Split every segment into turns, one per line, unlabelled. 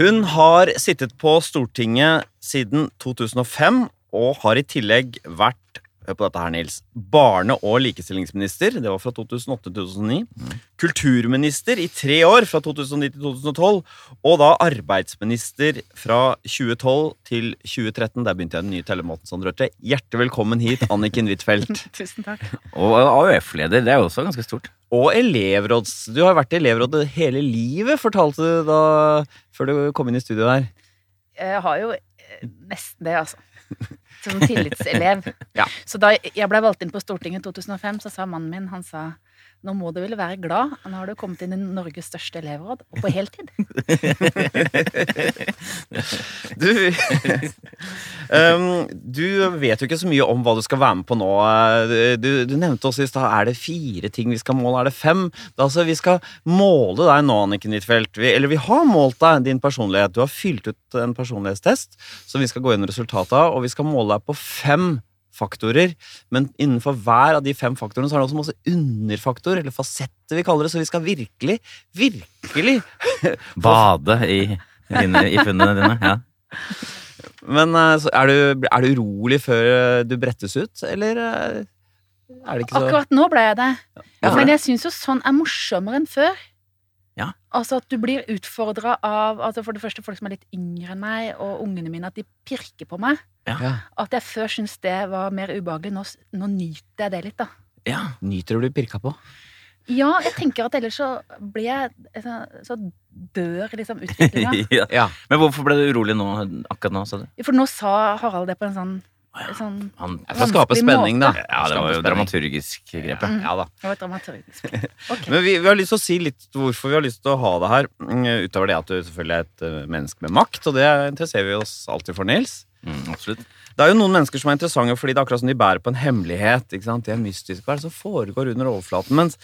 Hun har sittet på Stortinget siden 2005 og har i tillegg vært hør på dette her, Nils, barne- og likestillingsminister. Det var fra 2008 til 2009. Kulturminister i tre år, fra 2009 til 2012. Og da arbeidsminister fra 2012 til 2013. Der begynte jeg den nye tellemåten, Sondre Røthe. Hjertelig velkommen hit, Anniken Huitfeldt.
Tusen takk.
Og AUF-leder, det er jo også ganske stort.
Og elevråds... Du har vært i elevrådet hele livet, fortalte du da før du kom inn i studio her.
Jeg har jo eh, nesten det, altså. Som tillitselev.
Ja.
Så da jeg ble valgt inn på Stortinget i 2005, så sa mannen min, han sa nå må du vel være glad, nå har du kommet inn i Norges største elevråd, og på heltid.
Du, um, du vet jo ikke så mye om hva du skal være med på nå. Du, du nevnte også i stad er det fire ting vi skal måle, er det fem? Altså, vi skal måle deg nå, Anniken Huitfeldt. Vi, eller vi har målt deg, din personlighet. Du har fylt ut en personlighetstest som vi skal gå gjennom resultatet av, og vi skal måle deg på fem faktorer, men innenfor hver av de fem faktorene så er det også masse underfaktor, eller fasetter vi kaller det, så vi skal virkelig, virkelig
Bade i, dine, i funnene dine. ja.
Men eh, så er, du, er du urolig før eh, du brettes ut, eller eh, er det ikke så
Akkurat nå ble jeg det.
Ja,
Men jeg syns jo sånn er morsommere enn før.
Ja.
Altså at du blir utfordra av altså for det første folk som er litt yngre enn meg, og ungene mine, at de pirker på meg.
Ja.
At jeg før syntes det var mer ubehagelig. Nå, s- nå nyter jeg det litt, da.
ja.
Nyter du å bli pirka på?
Ja, jeg tenker at ellers så blir jeg Så, så dør liksom utviklinga.
ja.
Ja.
Men hvorfor ble du urolig nå, akkurat nå, sa du?
For nå sa Harald det på en sånn, sånn
Han,
For å skape
Vanskelig
spenning, da.
måte.
ja, det var jo dramaturgisk grep.
Ja, ja da.
Det var et dramaturgisk. Ok.
Men vi, vi har lyst til å si litt hvorfor vi har lyst til å ha det her. mm, Utover det at du selvfølgelig er et eh, menneske med makt, og det interesserer vi oss alltid for, Nils.
Mm, absolutt.
Det er jo noen mennesker som er interessante fordi det er akkurat som de bærer på en hemmelighet. ikke sant? De er mystiske. Hva er det som foregår under overflaten? Mens,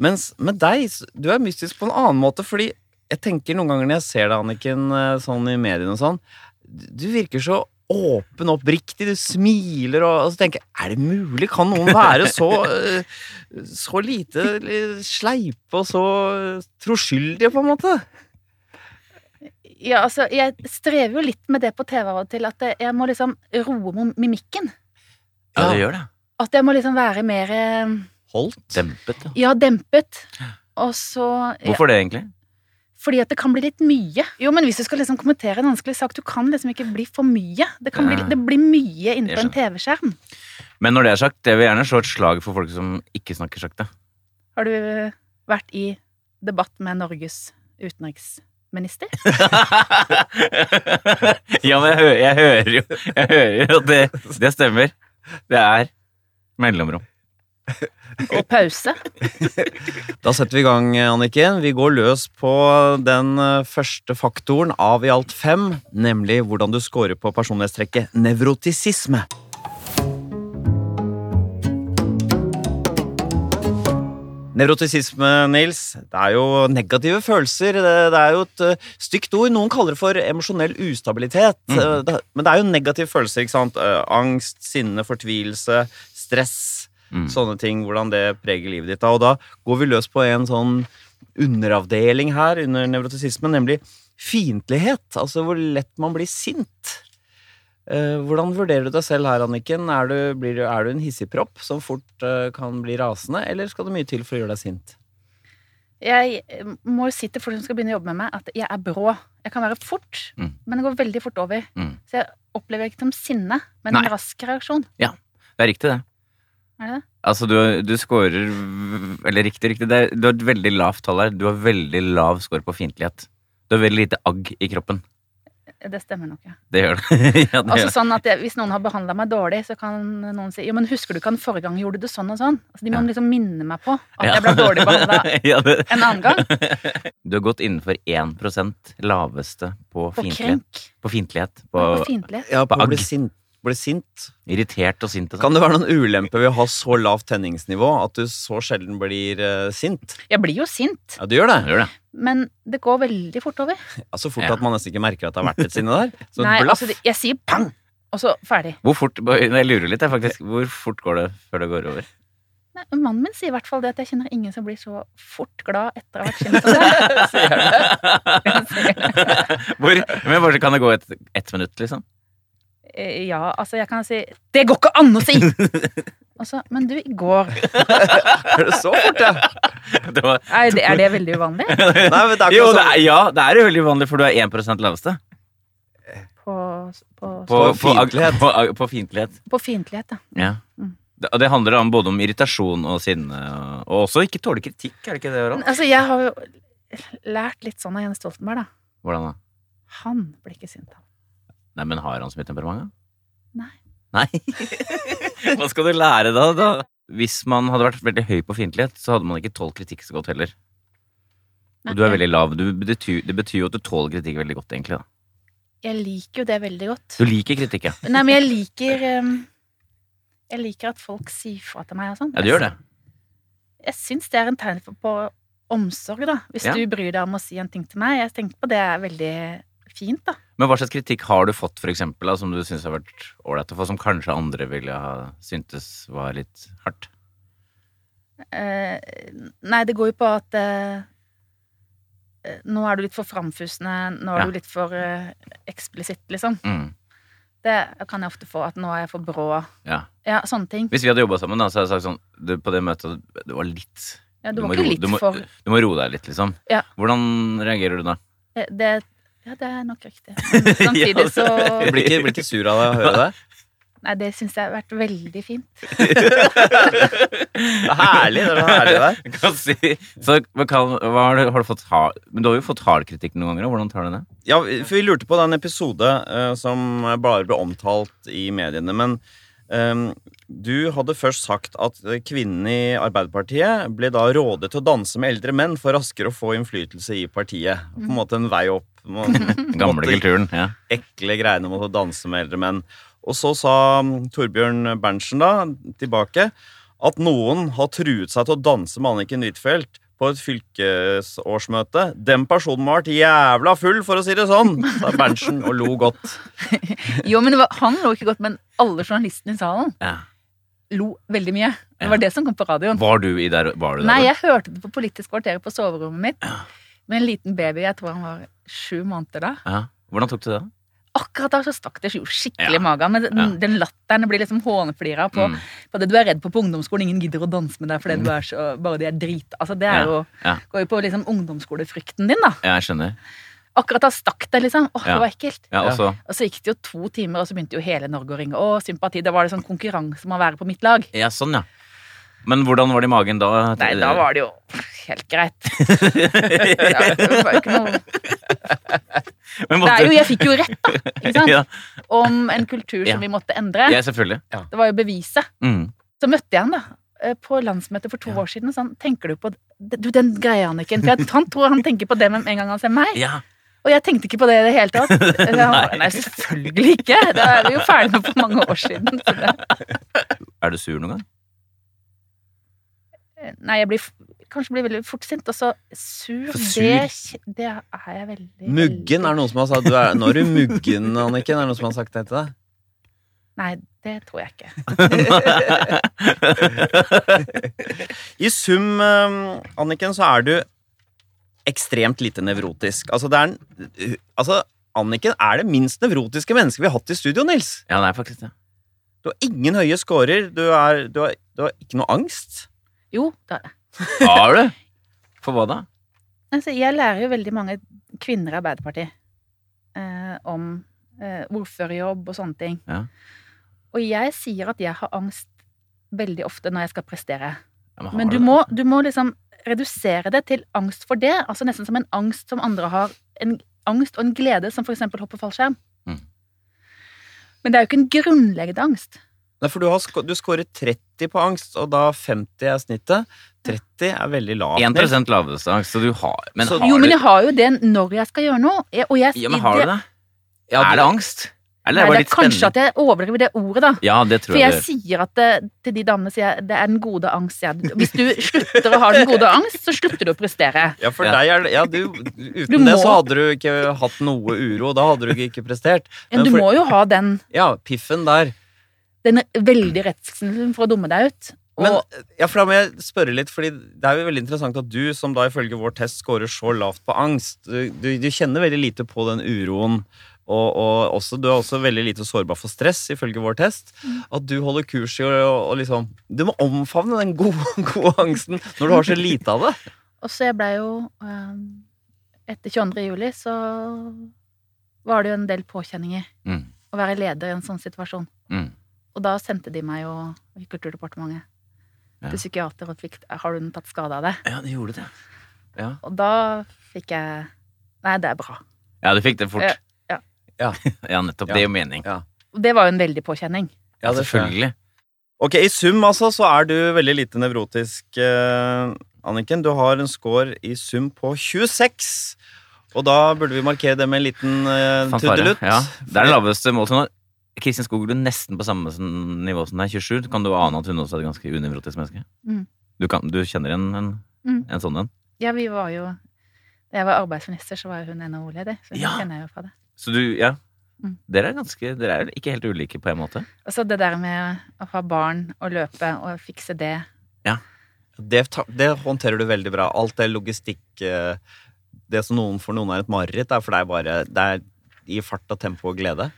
mens med deg, s- du er mystisk på en annen måte, fordi jeg tenker noen ganger når jeg ser deg, Anniken, eh, sånn i mediene og sånn, du virker så åpen og oppriktig. Du smiler og, og så tenker jeg, er det mulig? Kan noen være så, eh, så lite eller sleipe og så eh, troskyldige, på en måte?
Ja, altså, jeg strever jo litt med det på TV av og til, at jeg må liksom roe mo- mimikken.
Ja, det
Ja.
gjør det.
At jeg må liksom være mer eh,
Holdt.
Dempet, ja.
Ja, dempet. Og så ja,
Hvorfor det, egentlig?
Fordi at det kan bli litt mye. Jo, men hvis du skal liksom kommentere en vanskelig sak, du kan liksom ikke bli for mye. Det, kan bli,
Ja.
det blir mye inne på en
Jeg
TV-skjerm.
Men når det er sagt, jeg vil gjerne slå et slag for folk som ikke snakker sakte.
Har du vært i debatt med Norges utenriksminister?
ja, men jeg hører, jeg hører jo Jeg hører jo at det, det stemmer. Det er mellomrom.
Og pause?
Da setter vi i gang, eh, Anniken. Vi går løs på den eh, første faktoren av i alt fem, nemlig hvordan du scorer på personlighetstrekket nevrotisisme. Nevrotisisme, Nils, det er jo negative følelser. Det, det er jo et eh, stygt ord. Noen kaller det for emosjonell ustabilitet. Eh, Det, men det er jo negative følelser. ikke sant? Eh, Angst, sinne, fortvilelse, stress.
Mm.
Sånne ting, hvordan det preger livet ditt. da. Og da går vi løs på en sånn underavdeling her under nevrotisisme, nemlig fiendtlighet. Altså hvor lett man blir sint. Eh, hvordan vurderer du deg selv her, Anniken? Er du, blir du, er du en hissigpropp som fort eh, kan bli rasende, eller skal det mye til for å gjøre deg sint?
Jeg må jo si til folk som skal begynne å jobbe med meg, at jeg er brå. Jeg kan være fort,
Mm.
men det går veldig fort over.
Mm.
Så jeg opplever ikke som sinne, men
Nei.
en rask reaksjon.
Det er riktig, det.
Er det det?
Altså, du, du scorer Eller riktig, riktig. Det er, du har et veldig lavt tall her. Du har veldig lav score på fiendtlighet. Du har veldig lite agg i kroppen.
Det stemmer nok, ja.
Det gjør det. ja, det
Altså
gjør det.
sånn at jeg, Hvis noen har behandla meg dårlig, så kan noen si jo, men 'Husker du ikke han forrige gang gjorde du sånn og sånn?' Altså, de må
Ja.
liksom minne meg på at
Ja.
jeg ble dårlig behandla
ja, det.
en annen gang.
Du har gått innenfor 1 laveste
På
på fiendtlighet.
krenk.
På fiendtlighet. På,
På fiendtlighet.
Ja, på å
agg.
bli sint. Bli sint.
irritert og sint og sånn.
Kan det være noen ulemper ved å ha så lavt tenningsnivå at du så sjelden blir eh, sint?
Jeg blir jo sint,
Ja, du gjør det.
Gjør det.
men det går veldig fort over.
Ja, så fort
Ja.
at man nesten ikke merker at det har vært et sinne der. Så
Nei,
blaff.
altså, det- jeg sier pang, og så ferdig.
Hvor fort Jeg lurer litt, jeg, faktisk. Hvor fort går det før det går over?
Nei, men mannen min sier i hvert fall det at jeg kjenner ingen som blir så fort glad etter å ha vært kjent som deg.
Sier han det?
Hvor, men hvor kan det gå ett ett minutt, liksom?
Eh, Ja, altså jeg kan si 'Det går ikke an å si!' Og så 'Men du, i går
Er det så fort, ja?
Det var,
Er det, er det veldig uvanlig?
Nei, men det er
jo,
ikke
det
sånn.
er, ja, det er jo veldig uvanlig, for du er 1 laveste.
På, på,
Så
på,
På, på, ag-
fiendtlighet.
på, ag- på fiendtlighet.
fiendtlighet, da.
Ja.
Mm.
Det, og det handler om både om irritasjon og sinne, og også ikke tåle kritikk. er det ikke det,
Men,
Harald?
altså, jeg har jo lært litt sånn av Jens Stoltenberg, da.
Hvordan da?
Han blir ikke sint, han.
Nei, men har han så mye temperament, da?
Nei.
Nei? Hva skal du lære da? da? Hvis man hadde vært veldig høy på fiendtlighet, så hadde man ikke tålt kritikk så godt heller.
Nei,
Og du er veldig lav. Du betyr, det betyr jo at du tåler kritikk veldig godt, egentlig. da.
Jeg liker jo det veldig godt.
Du liker kritikk, ja.
Nei, men jeg liker em, Jeg liker at folk sier fra til meg og sånn.
Ja, du gjør det.
Jeg syns det er en tegn på, på omsorg, da. Hvis
Ja.
du bryr deg om å si en ting til meg. Jeg tenkte på det er veldig fint, da.
Men hva slags kritikk har du fått, for eksempel, da, som du syns har vært ålreit å få, som kanskje andre ville ha syntes var litt hardt?
Eh, nei, det går jo på at eh, eh, Nå er du litt for framfusende. Nå er
Ja.
du litt for eh, eksplisitt, liksom.
Mm.
Det kan jeg ofte få. At nå er jeg for brå.
Ja.
Ja, sånne ting.
Hvis vi hadde jobba sammen, da, så hadde jeg sagt sånn du, På det møtet, det var litt
Ja, du
må
var ikke
roe-
litt
du må,
for
Du må roe deg litt, liksom.
Ja.
Hvordan reagerer du da?
eh, det, Ja, det er nok riktig. Men samtidig så
Jeg blir ikke, blir ikke sur av det å høre det.
Nei, det syns jeg har vært veldig fint.
Det er herlig. det er herlig der.
Jeg kan si. Så hva, kan- hva har, du, har du fått hard Men du har jo fått hard kritikk noen ganger, og hvordan tar du det?
Ja, for vi lurte på den episode eh, som bare ble omtalt i mediene, men ehm, du hadde først sagt at eh, kvinnen i Arbeiderpartiet ble da rådet til å danse med eldre menn for raskere å få innflytelse i partiet. På en måte en vei opp. Man,
Den gamle
måtte-
kulturen. Ja.
ekle greiene med å danse med eldre menn. Og så sa mm, Torbjørn Berntsen da, tilbake, at noen har truet seg til å danse med Anniken Huitfeldt på et fylkesårsmøte. Den personen må ha vært jævla full, for å si det sånn, sa Berntsen og lo godt.
Jo, men det var, Han lo ikke godt, men alle journalistene i salen
Ja.
lo veldig mye. Det
Ja.
var det som kom på radioen.
Var du i der? Var du der
Nei, jeg hørte det på Politisk kvarter på soverommet mitt med en liten baby. Jeg tror han var sju måneder da.
ja. Hvordan tok du det?
Akkurat da så stakk det jo skikkelig
Ja.
i magen. Men den,
Ja.
den latteren det blir liksom håneflira på,
Mm.
på det du er redd på på ungdomsskolen. Ingen gidder å danse med deg fordi du er så Bare de er drit... Altså, det er
Ja,
jo
ja.
Går jo på liksom ungdomsskolefrykten din, da.
Ja, jeg skjønner.
Akkurat da stakk det, liksom. Åh,
Ja.
det var ekkelt.
Ja, og så
Og så gikk det jo to timer, og så begynte jo hele Norge å ringe. Å, sympati. Da var det sånn konkurranse om å være på mitt lag.
Ja, sånn, ja. Men hvordan var det i magen da?
Nei, da var det jo helt greit. Ja, det var jo ikke noe
Men
Det
måtte-
er jo, jeg fikk jo rett, da. Ikke sant?
ja,
Om en kultur
Ja.
som vi måtte endre.
ja, selvfølgelig.
Det var jo beviset.
Mm.
Så møtte jeg han da, eh, på landsmøtet for to år siden. Sånn, tenker du på d- du, den greia, Anniken. For jeg, han tror han tenker på det med en gang han ser meg.
Ja.
Og jeg tenkte ikke på det i det hele tatt. Så han
Nei.
bare, Nei, selvfølgelig ikke. Det er vi jo ferdig med for mange år siden. Så det,
Er du sur noen gang?
nei, jeg blir f- kanskje blir veldig fort sint. Og så sur,
For sur.
Det, kj- det er jeg veldig
Muggen er det noen som har sagt. Du er, nå er du muggen, Anniken. Er det noen som har sagt det til deg?
Nei, det tror jeg ikke.
I sum, eh, Anniken, så er du ekstremt lite nevrotisk. Altså, det er en, altså, Anniken er det minst nevrotiske mennesket vi har hatt i studio, Nils.
Ja, det er faktisk det.
Du har ingen høye scorer. Du, er, du, har, du har ikke noe angst.
Jo, det er det.
Har du? For hva da?
Altså, jeg lærer jo veldig mange kvinner i Arbeiderpartiet eh, om eh, ordførerjobb og sånne ting.
Ja.
Og jeg sier at jeg har angst veldig ofte når jeg skal prestere.
Ja, har
Men du
det?
må, du må liksom redusere det til angst for det. Altså nesten som en angst som andre har. En angst og en glede som f.eks. hopper fallskjerm.
Mm.
Men det er jo ikke en grunnleggende angst.
Nei, for du, har, sko- du scorer 30 på angst, og da 50 er snittet. 30 er veldig lavt.
1 lavestangst, så du har Men
Så-
har
jo, men
du
jeg har jo det når jeg skal gjøre noe. Jeg- Og jeg,
Ja, men har du det? er det angst?
Nei,
Eller er det
det er
bare litt
kanskje
spennende?
at jeg overdriver det ordet, da.
Ja, det tror
For jeg
jeg du gjør.
sier at det, til de damene sier jeg, det er den gode angst. sier jeg. Hvis du slutter å ha den gode angst, så slutter du å prestere.
Ja, for
Ja.
deg er det ja, du, Uten
Du må-
det så hadde du ikke hatt noe uro. Da hadde du ikke prestert.
Men du
for-
må jo ha den,
Ja, piffen der.
den veldige redselen for å dumme deg ut.
Men,
Og-
ja, for da må jeg spørre litt, fordi det er jo veldig interessant at du, som da ifølge vår test scorer så lavt på angst, du, du, du kjenner veldig lite på den uroen, og, og også, du er også veldig lite sårbar for stress, ifølge vår test, at du holder kurs i å å- å liksom Du må omfavne den gode, gode angsten når du har så lite av det.
Og så jeg blei jo ehm, Etter 22. juli så var det jo en del påkjenninger
Mm.
å være leder i en sånn situasjon.
Mm.
Og da sendte de meg jo i Kulturdepartementet
Ja.
til psykiater og fikk Har du tatt skade av det?
Ja, det gjorde det. Ja.
Og da fikk jeg Nei, det er bra.
Ja, du fikk det fort.
Ja,
ja.
ja nettopp.
Ja.
Det gir jo mening.
Ja.
Og det var jo en veldig påkjenning.
Ja, det skjønner jeg.
Selvfølgelig.
Ok, I sum altså, så er du veldig lite nevrotisk, eh, Anniken. Du har en score i sum på 26. Og da burde vi markere det med en liten eh,
Fanfare.
tuddelutt.
Ja. Det er det laveste målet som nå. Kristin Skoglund nesten på samme som- nivå som deg, 27. Kan du ane at hun også er et ganske unevrotisk menneske?
Mm.
Du, kan, du kjenner en, en,
Mm.
en sånn en?
Ja, vi var jo Da jeg var arbeidsminister, så var jo hun NHO-leder. Så hun
Ja.
kjenner jeg jo fra det.
Så du, ja.
Mm.
Dere er ganske, dere er ikke helt ulike på en måte.
Og så det der med å ha barn og løpe og fikse det
Det, ta- det håndterer du veldig bra. Alt det logistikk eh, Det som noen for noen er et mareritt, er for deg bare det er i fart og tempo og glede.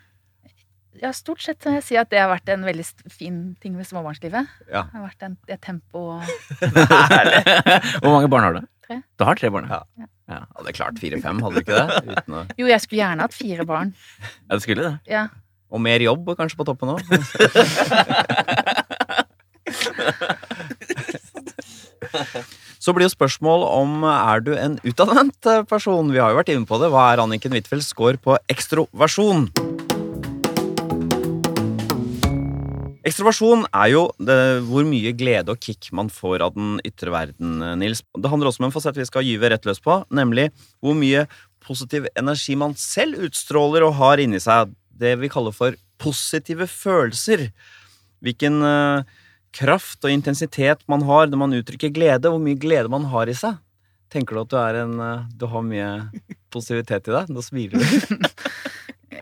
Ja, stort sett kan jeg si at det har vært en veldig st- fin ting ved småbarnslivet.
Ja.
Det har vært en, et tempo og
Hvor mange barn har du?
Tre.
Du har tre barn,
Ja. Hadde klart fire-fem, hadde du ikke det? Uten å,
Jo, jeg skulle gjerne hatt fire barn.
Ja, du skulle det.
Ja.
og mer jobb kanskje på toppen òg. Så blir jo spørsmål om er du en utadvendt person. Vi har jo vært inne på det. Hva er Anniken Huitfeldts score på ekstroversjon? Ekstroversjon er jo det, hvor mye glede og kick man får av den ytre verden, eh, Nils. Det handler også om en fasett vi skal gyve rett løs på, nemlig hvor mye positiv energi man selv utstråler og har inni seg. Det vi kaller for positive følelser. Hvilken eh, kraft og intensitet man har når man uttrykker glede, hvor mye glede man har i seg. Tenker du at du, er en, eh, du har mye positivitet i deg? Nå smiler du.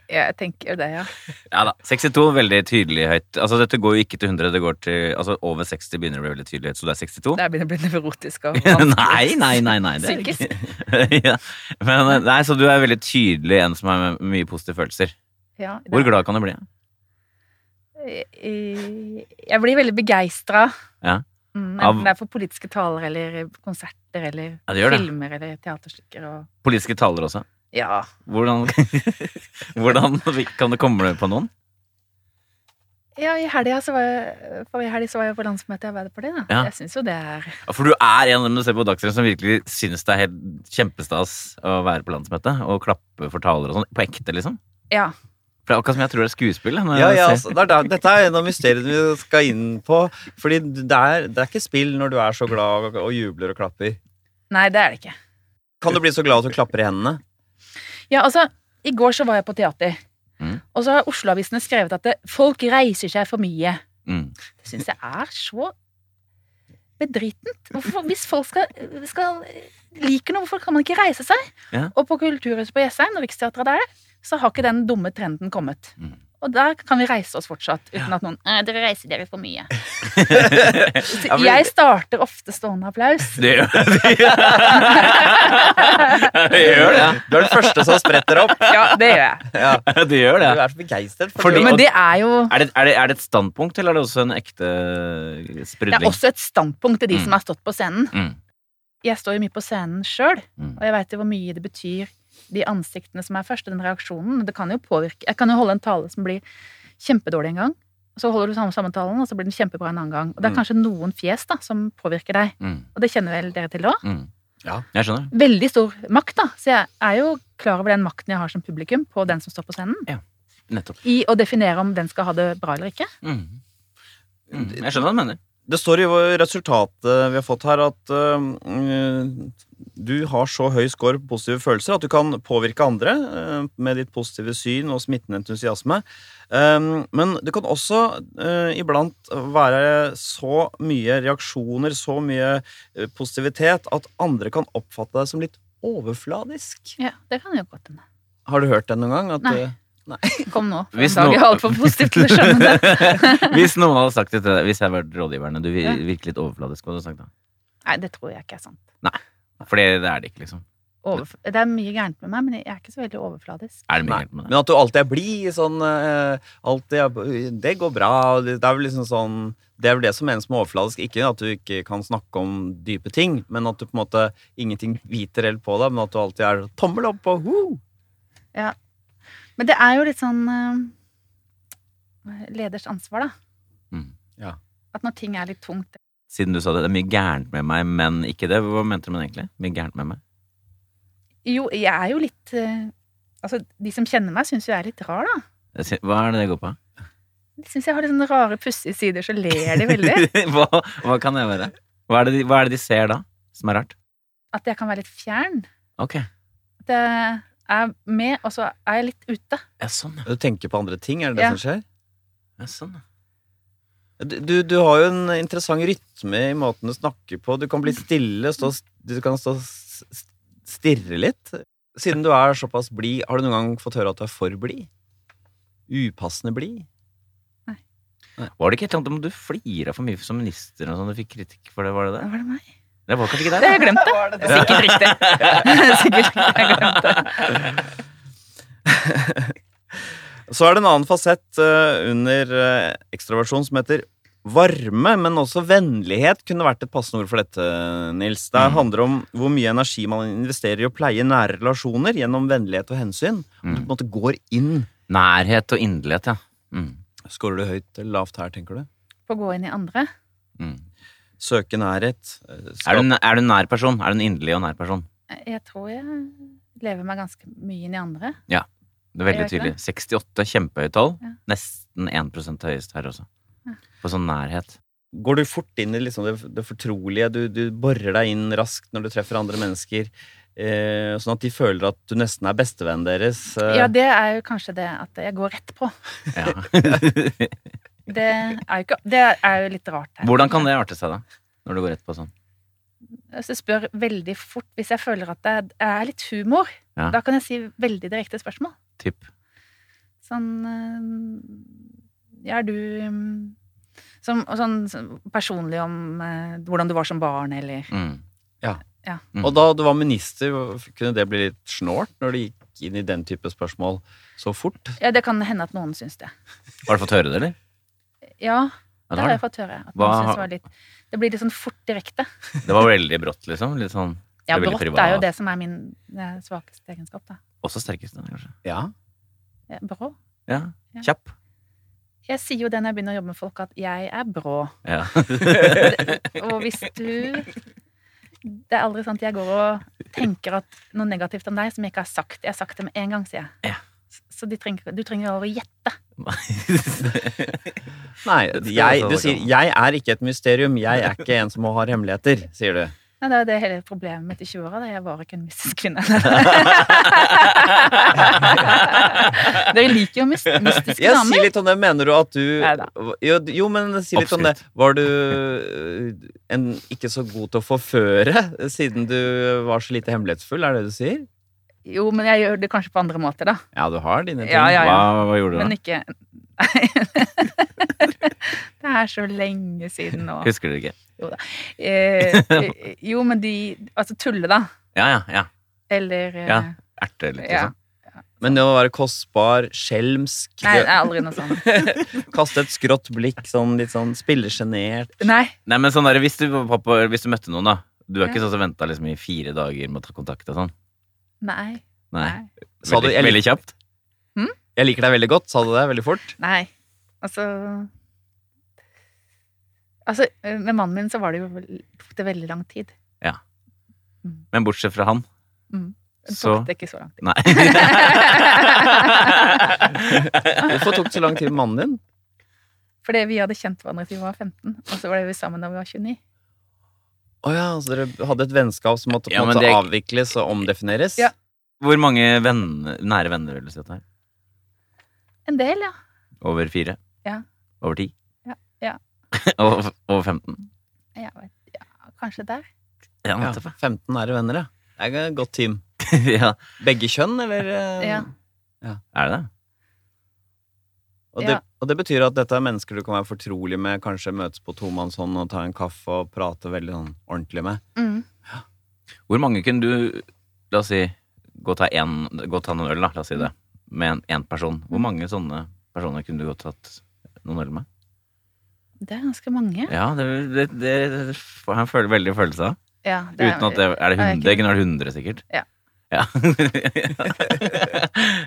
Jeg tenker det, ja.
Ja da. 62, veldig tydelig høyt. Altså, dette går jo ikke til 100, det går til altså, over 60 begynner det å bli veldig tydelig høyt, så du er 62?
Der begynner det å bli nevrotisk og
nei, nei, nei, nei. Det er
Psykisk.
ikke- ja. Men, eh, nei, så du er veldig tydelig en som har mye positive følelser.
Ja,
Hvor glad kan du bli?
Jeg, jeg- jeg blir veldig begeistra.
Ja.
Mm,
Av-
enten det er for politiske taler eller konserter eller
Ja, det gjør det.
filmer eller teaterstykker og
Politiske taler også.
Ja.
Hvordan, hvordan kan det komme på noen?
ja i helga så var jeg, forrige helg så var jeg på landsmøtet i Arbeiderpartiet, da.
Ja.
Jeg syns jo det er
Ja, For du er en av dem du ser på Dagsrevyen som virkelig syns det er helt kjempestas å være på landsmøtet og klappe for taler og sånn. På ekte, liksom.
Ja.
For det er akkurat som jeg tror det er skuespill. eh, når
Ja,
jeg
ja,
ser-
altså, det er, der- dette er en av mysteriene vi skal inn på. Fordi det er, det er ikke spill når du er så glad og, og jubler og klapper.
Nei, det er det ikke.
Kan du bli så glad at du klapper i hendene?
Ja, altså, I går så var jeg på teater,
Mm.
og så har Osloavisene skrevet at det, folk reiser seg for mye.
Mm.
Det syns jeg er så bedritent. Hvorfor, hvis folk skal, skal liker noe, hvorfor kan man ikke reise seg?
Ja.
Og på Kulturhuset på Jessheim, når Riksteatret er der, så har ikke den dumme trenden kommet.
Mm.
Og der kan vi reise oss fortsatt, uten at noen «Eh, Dere reiser dere for mye. Så
Ja, men-
jeg starter ofte stående applaus.
Det gjør det. Det gjør det.
Du er den første som spretter opp.
Ja, det gjør jeg.
Ja, du
Det gjør det.
er så begeistret. for
Fordi-
det.
Men det er jo
Er det, er, det, er det et standpunkt, eller er det også en ekte eh,
det er
sprudling?
også et standpunkt til de
Mm.
som har stått på scenen.
mm.
Jeg står jo mye på scenen sjøl,
Mm.
og jeg veit jo hvor mye det betyr, de ansiktene som er først, og den reaksjonen. Det kan jo påvirke Jeg kan jo holde en tale som blir kjempedårlig en gang, og så holder du samme samme talen, og så blir den kjempebra en annen gang. Og det er
Mm.
kanskje noen fjes da, som påvirker deg,
Mm.
og det kjenner vel dere til òg.
Mm.
Ja.
Jeg skjønner.
Veldig stor makt, da. Så jeg er jo klar over den makten jeg har som publikum på den som står på scenen,
Nettopp.
i å definere om den skal ha det bra eller ikke.
Mm. Mm. Jeg skjønner hva du mener.
Det står i resultatet vi har fått her, at øhm, du har så høy score på positive følelser at du kan påvirke andre øh, med ditt positive syn og smittende entusiasme. Ehm, men det kan også øh, iblant være så mye reaksjoner, så mye øh, positivitet, at andre kan oppfatte deg som litt overfladisk.
Ja, Det kan jo godt hende.
Har du hørt det noen gang? At,
Nei.
øh,
Kom nå. for
Hvis
en dag
nå-
jeg er altfor positiv til å skjønne det.
Hvis noen hadde sagt det til deg, hvis jeg var rådgiverne, du vir- virker litt overfladisk, hva hadde du sagt da?
Nei, det tror jeg ikke er sant.
For det det er det ikke, liksom.
Overf det er mye gærent med meg, men jeg er ikke så veldig overfladisk.
Er det mye
Nei,
gærent med det?
Men at du alltid er blid, sånn eh, alltid er, Det går bra. og Det det er vel liksom sånn Det er vel det som menes med overfladisk. Ikke at du ikke kan snakke om dype ting, men at du på en måte ingenting biter helt på deg, men at du alltid er tommel opp og woo!
Men det er jo litt sånn eh, leders ansvar, da.
Mm.
Ja.
At når ting er litt tungt
Siden du sa det, det er mye gærent med meg, men ikke det. Hva mente du med det egentlig? Mye gærent med meg?
Jo, jeg er jo litt eh, Altså, de som kjenner meg, syns jo jeg er litt rar, da.
Jeg sier, Eh, Hva er det det går på?
De syns jeg har litt sånne rare, pussige sider, så ler de veldig.
hva, hva kan det være? Hva er det, de, hva er det de ser da, som er rart?
At jeg kan være litt fjern.
Ok,
At jeg er med, og så er jeg litt ute.
ja, sånn, ja.
Du tenker på andre ting, er det det
Ja.
som skjer?
ja. Sånn, ja.
Du, du, du har jo en interessant rytme i måten du snakker på. Du kan bli stille, stå, du kan stå s- s- stirre litt. Siden du er såpass blid, har du noen gang fått høre at du er for blid? Upassende blid?
Var det ikke et eller annet om du flira for mye som minister og sånn, du fikk kritikk for det, var det det?
Var det meg?
Det var kanskje ikke
Det har
det?
jeg glemt, da. Det er Sikkert riktig. Sikkert riktig. Jeg har glemt det.
Så er det en annen fasett eh, under eh, ekstroversjon som heter varme, men også vennlighet kunne vært et passende ord for dette, Nils. Det
Mm.
handler om hvor mye energi man investerer i å pleie nære relasjoner gjennom vennlighet og hensyn. Du på en
Mm.
måte går inn.
Nærhet og inderlighet, ja. Mm.
Skårer du høyt eller lavt her, tenker du?
På å gå inn i andre.
Mm.
Søke nærhet. eh,
Er,
Skap.
du, en- er du en nær person? Er du en inderlig og nær person?
Jeg tror jeg lever meg ganske mye inn i andre.
Det er veldig
Jeg gjør
tydelig. 68, kjempehøyt tall.
Ja.
Nesten 1 høyest her også.
Ja.
På sånn nærhet.
Går du fort inn i liksom det, det fortrolige? Du, du borer deg inn raskt når du treffer andre mennesker, eh, sånn at de føler at du nesten er bestevennen deres. eh.
Ja, det er jo kanskje det at jeg går rett på.
Ja.
Det er jo, ikke, det er jo litt rart her.
Hvordan kan det arte seg, da? Når du går rett på sånn.
Hvis jeg spør veldig fort, hvis jeg føler at det er- det er litt humor,
Ja.
da kan jeg si veldig direkte spørsmål.
Typ.
Sånn eh, Ja, er du mm, som, og sånn, sånn personlig om eh, hvordan du var som barn, eller
Mm.
Og da du var minister, kunne det bli litt snålt når du gikk inn i den type spørsmål så fort?
Ja, det kan hende at noen syns det.
Har du fått høre det, eller?
Ja,
Ja,
det
det
har
har
jeg fått høre. At
Hva
noen
har-
syns det var litt Det blir litt sånn fort direkte.
du. Det var veldig brått, liksom. Litt sånn
Ja,
Det er veldig
brått er jo
privat.
det som er min eh, svakeste egenskap, da.
Også sterkeste, kanskje.
Ja.
Ja, Brå.
Ja.
Ja.
Kjapp.
Jeg sier jo det når jeg begynner å jobbe med folk, at jeg er brå.
Ja.
Og hvis du Det er aldri sånn at jeg går og tenker at noe negativt om deg som jeg ikke har sagt. Jeg har sagt det med en gang, sier jeg.
Ja.
Så de trenger, du trenger aldri å gjette.
Nei,
Det skal
jeg,
være
du
sånn,
sier
ja.
'jeg er ikke et mysterium', 'jeg er ikke en som har hemmeligheter', sier du.
Nei, det er jo det hele problemet mitt i 20-åra. da. Jeg var ikke en mystisk kvinne. Dere liker jo mys- mystiske
Ja, si
damer.
litt om det. Mener du at du
Neida.
Jo, d- jo men si litt om det. Var du øh, en ikke så god til å forføre siden du var så lite hemmelighetsfull, er det det du sier?
Jo, men jeg gjør det kanskje på andre måter, da.
Ja, du har dine ting.
Ja, ja,
Hva,
ja.
hva gjorde du da?
Men ikke Nei. Det er så lenge siden nå.
Husker du det ikke?
Eh, eh, jo, men de Altså tulle, da.
Ja, ja, ja.
Eller eh,
Ja, Erte litt,
Ja.
liksom.
Men det å være kostbar, skjelmsk,
Nei, det er aldri noe sånn. sånt.
kaste et skrått blikk, sånn litt sånn spillesjenert
Nei.
Nei, men sånn der, hvis du, var på, hvis du møtte noen, da. Du er
Ja.
ikke sånn som venta liksom, i fire dager med å ta kontakt og sånn?
Nei.
Nei.
Nei.
Sa du-
Veldig,
jeg lik-
veldig kjapt?
Jeg liker deg veldig godt, sa du det veldig fort?
Nei. Altså Altså, eh, med mannen min så var det jo vel- tok det veldig lang tid.
Men bortsett fra han,
Mm. Det tok
så
det ikke så lang tid.
Nei.
Hvorfor tok det så lang tid med mannen din?
Fordi vi hadde kjent hverandre til vi var 15, og så var det vi sammen da vi var 29.
Å ja, så dere hadde et vennskap som måtte på
Ja,
en
men
måte
det-
avvikles og omdefineres?
Ja.
Hvor mange venner, nære venner vil du si at det er?
En del, ja.
Over fire?
Ja.
Over ti?
Ja, ja.
over, over 15?
Jeg vet, ja kanskje der.
Ja,
Ja, nettopp.
15 nære venner, ja. Det er et godt team.
ja.
Begge kjønn, eller? eh?
Ja.
Er det det?
Og det,
Ja.
og det betyr at dette er mennesker du kan være fortrolig med, kanskje møtes på tomannshånd og ta en kaffe og prate veldig sånn ordentlig med.
Mm.
Hvor mange kunne du, la oss si, gå ta, en, gå ta noen øl, da, la oss si det, med én person? Hvor mange sånne personer kunne du godt tatt noen øl med?
Det er ganske mange.
Ja, det, det, det, det får jeg føler veldig følelse av.
Ja, det er-
Uten at det Er det
Nei,
100? Det
ikke-
kunne vært 100, sikkert.
Ja.
Ja,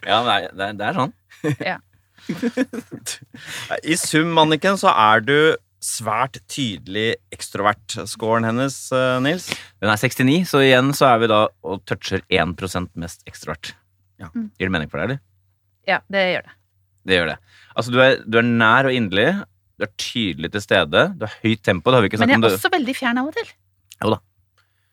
ja nei, det, er- det er sånn.
I sum, Anniken, så er du svært tydelig ekstrovert. Scoren hennes, eh, Nils?
Den er 69, så igjen så er vi da og toucher 1 mest ekstrovert.
Ja.
Mm.
Gir det mening for deg, eller?
Ja, det gjør det.
Det gjør det. Altså, du er, du er nær og inderlig. Du er tydelig til stede. Du har høyt tempo. Det har vi ikke
Men
snakket
jeg
om.
er
Det.
også veldig fjern av og til.
Jo da.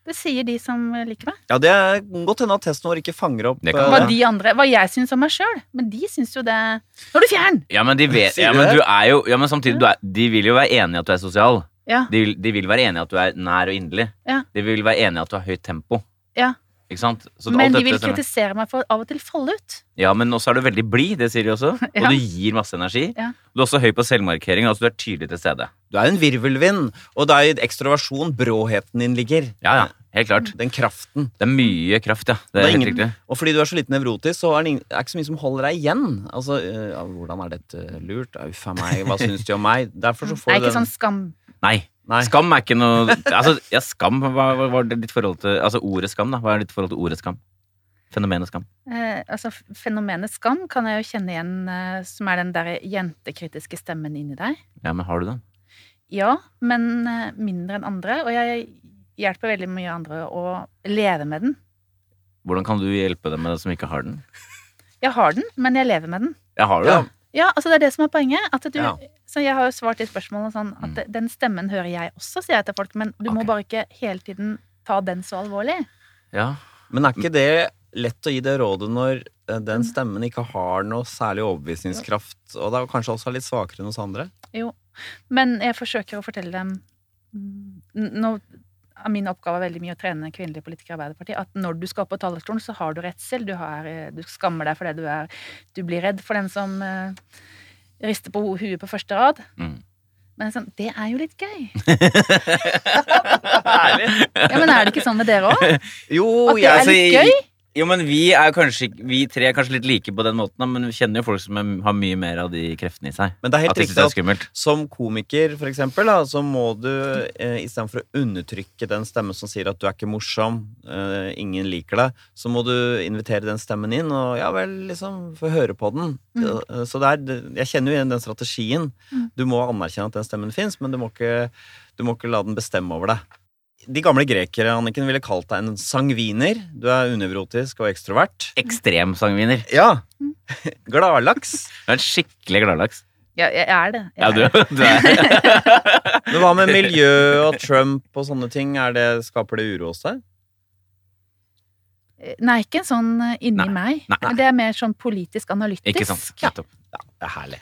Det sier de som liker meg.
Ja, det er godt hende at testen vår ikke fanger opp
Det kan
eh,
Hva,
være.
de andre, hva jeg syns om meg sjøl. Men de syns jo det Nå er du fjern!
Ja, men de vet
Sier
ja,
du
men
det?
du er jo, ja, men samtidig, du er, de vil jo være enig i at du er sosial.
Ja.
De vil, de vil være enig i at du er nær og inderlig.
Ja.
De vil være enig i at du har høyt tempo.
Ja.
Ikke sant? Så alt
Men de
dette
vil
stemmer.
kritisere meg for av og til falle ut.
Ja, men også er du veldig blid, det sier de også. Og
Ja.
du gir masse energi.
Ja.
Du er også høy på selvmarkering. Altså du er tydelig til stede.
Du er en virvelvind, og det er i ekstroversjon bråheten din ligger.
Ja, ja.
Mm.
Helt klart.
Den kraften.
Det er mye kraft, ja. Det
Det
er
er
helt
ingen-
riktig.
Og fordi du er så lite nevrotisk, så er det ing- er ikke så mye som holder deg igjen. Altså, eh, ja, Hvordan er dette lurt? Uff a meg, hva syns de om meg? Derfor så
Det er
får du
ikke
den
sånn skam.
Nei.
Nei.
Skam er ikke noe altså, ja, Skam, hva hva var det ditt forhold til Altså ordet skam, da? Hva er ditt forhold til ordet skam? Fenomenet skam.
Eh, altså, f- fenomenet skam kan jeg jo kjenne igjen, eh, som er den der jentekritiske stemmen inni deg.
Ja, men har du den?
Ja, men eh, mindre enn andre. Og jeg hjelper veldig mye andre å leve med den.
Hvordan kan du hjelpe dem med det som ikke har den?
Jeg har den, men jeg lever med den.
Jeg har du
Ja.
den.
Ja, altså det er det som er poenget. At du,
Ja.
Så jeg har jo svart de spørsmålene sånn at
Mm.
den stemmen hører jeg også, sier jeg til folk. Men du må
Ok.
bare ikke hele tiden ta den så alvorlig.
Ja.
Men er ikke det lett å gi det rådet når eh, den stemmen ikke har noe særlig overbevisningskraft, og det er jo kanskje også litt svakere enn hos andre?
Men jeg forsøker å fortelle dem mm, n- Nå er min oppgave veldig mye å trene kvinnelige politikere i Arbeiderpartiet. At når du skal opp på talerstolen, så har du redsel. Du, har, eh, du skammer deg for det du er. Du blir redd for den som eh, rister på ho- huet på første rad.
Mm.
Men sånn, det er jo litt gøy.
Ærlig.
Ja, Men er det ikke sånn med dere òg?
Jo,
At det
jeg-
er
altså,
litt
jeg-
gøy?
Jo, men vi er kanskje ikke- Vi tre er kanskje litt like på den måten, da, men vi kjenner jo folk som er, har mye mer av de kreftene i seg.
Men det er
At
helt
de synes det
riktig
er
at
skummelt.
som komiker, for eksempel, da, så må du eh, istedenfor å undertrykke den stemmen som sier at du er ikke morsom, eh, ingen liker deg, så må du invitere den stemmen inn og ja vel, liksom få høre på den.
Mm.
Eh, Så det er, jeg kjenner jo igjen den strategien.
Mm.
Du må anerkjenne at den stemmen fins, men du må, ikke, du må ikke la den bestemme over deg. De gamle grekere, Anniken, ville kalt deg en sangviner. Du er unevrotisk og ekstrovert.
Ekstremsangviner.
Ja!
Mm.
Gladlaks.
Du er en skikkelig gladlaks.
Ja, jeg er det. Jeg
Ja,
er
du,
det.
du er
Men hva med miljø og Trump og sånne ting? Er det, skaper det uro hos deg?
Nei, ikke en sånn eh, inni
Nei.
meg.
Nei.
Men det er mer sånn politisk analytisk.
Ikke sånn. sant.
Ja.
Nettopp.
Det er herlig.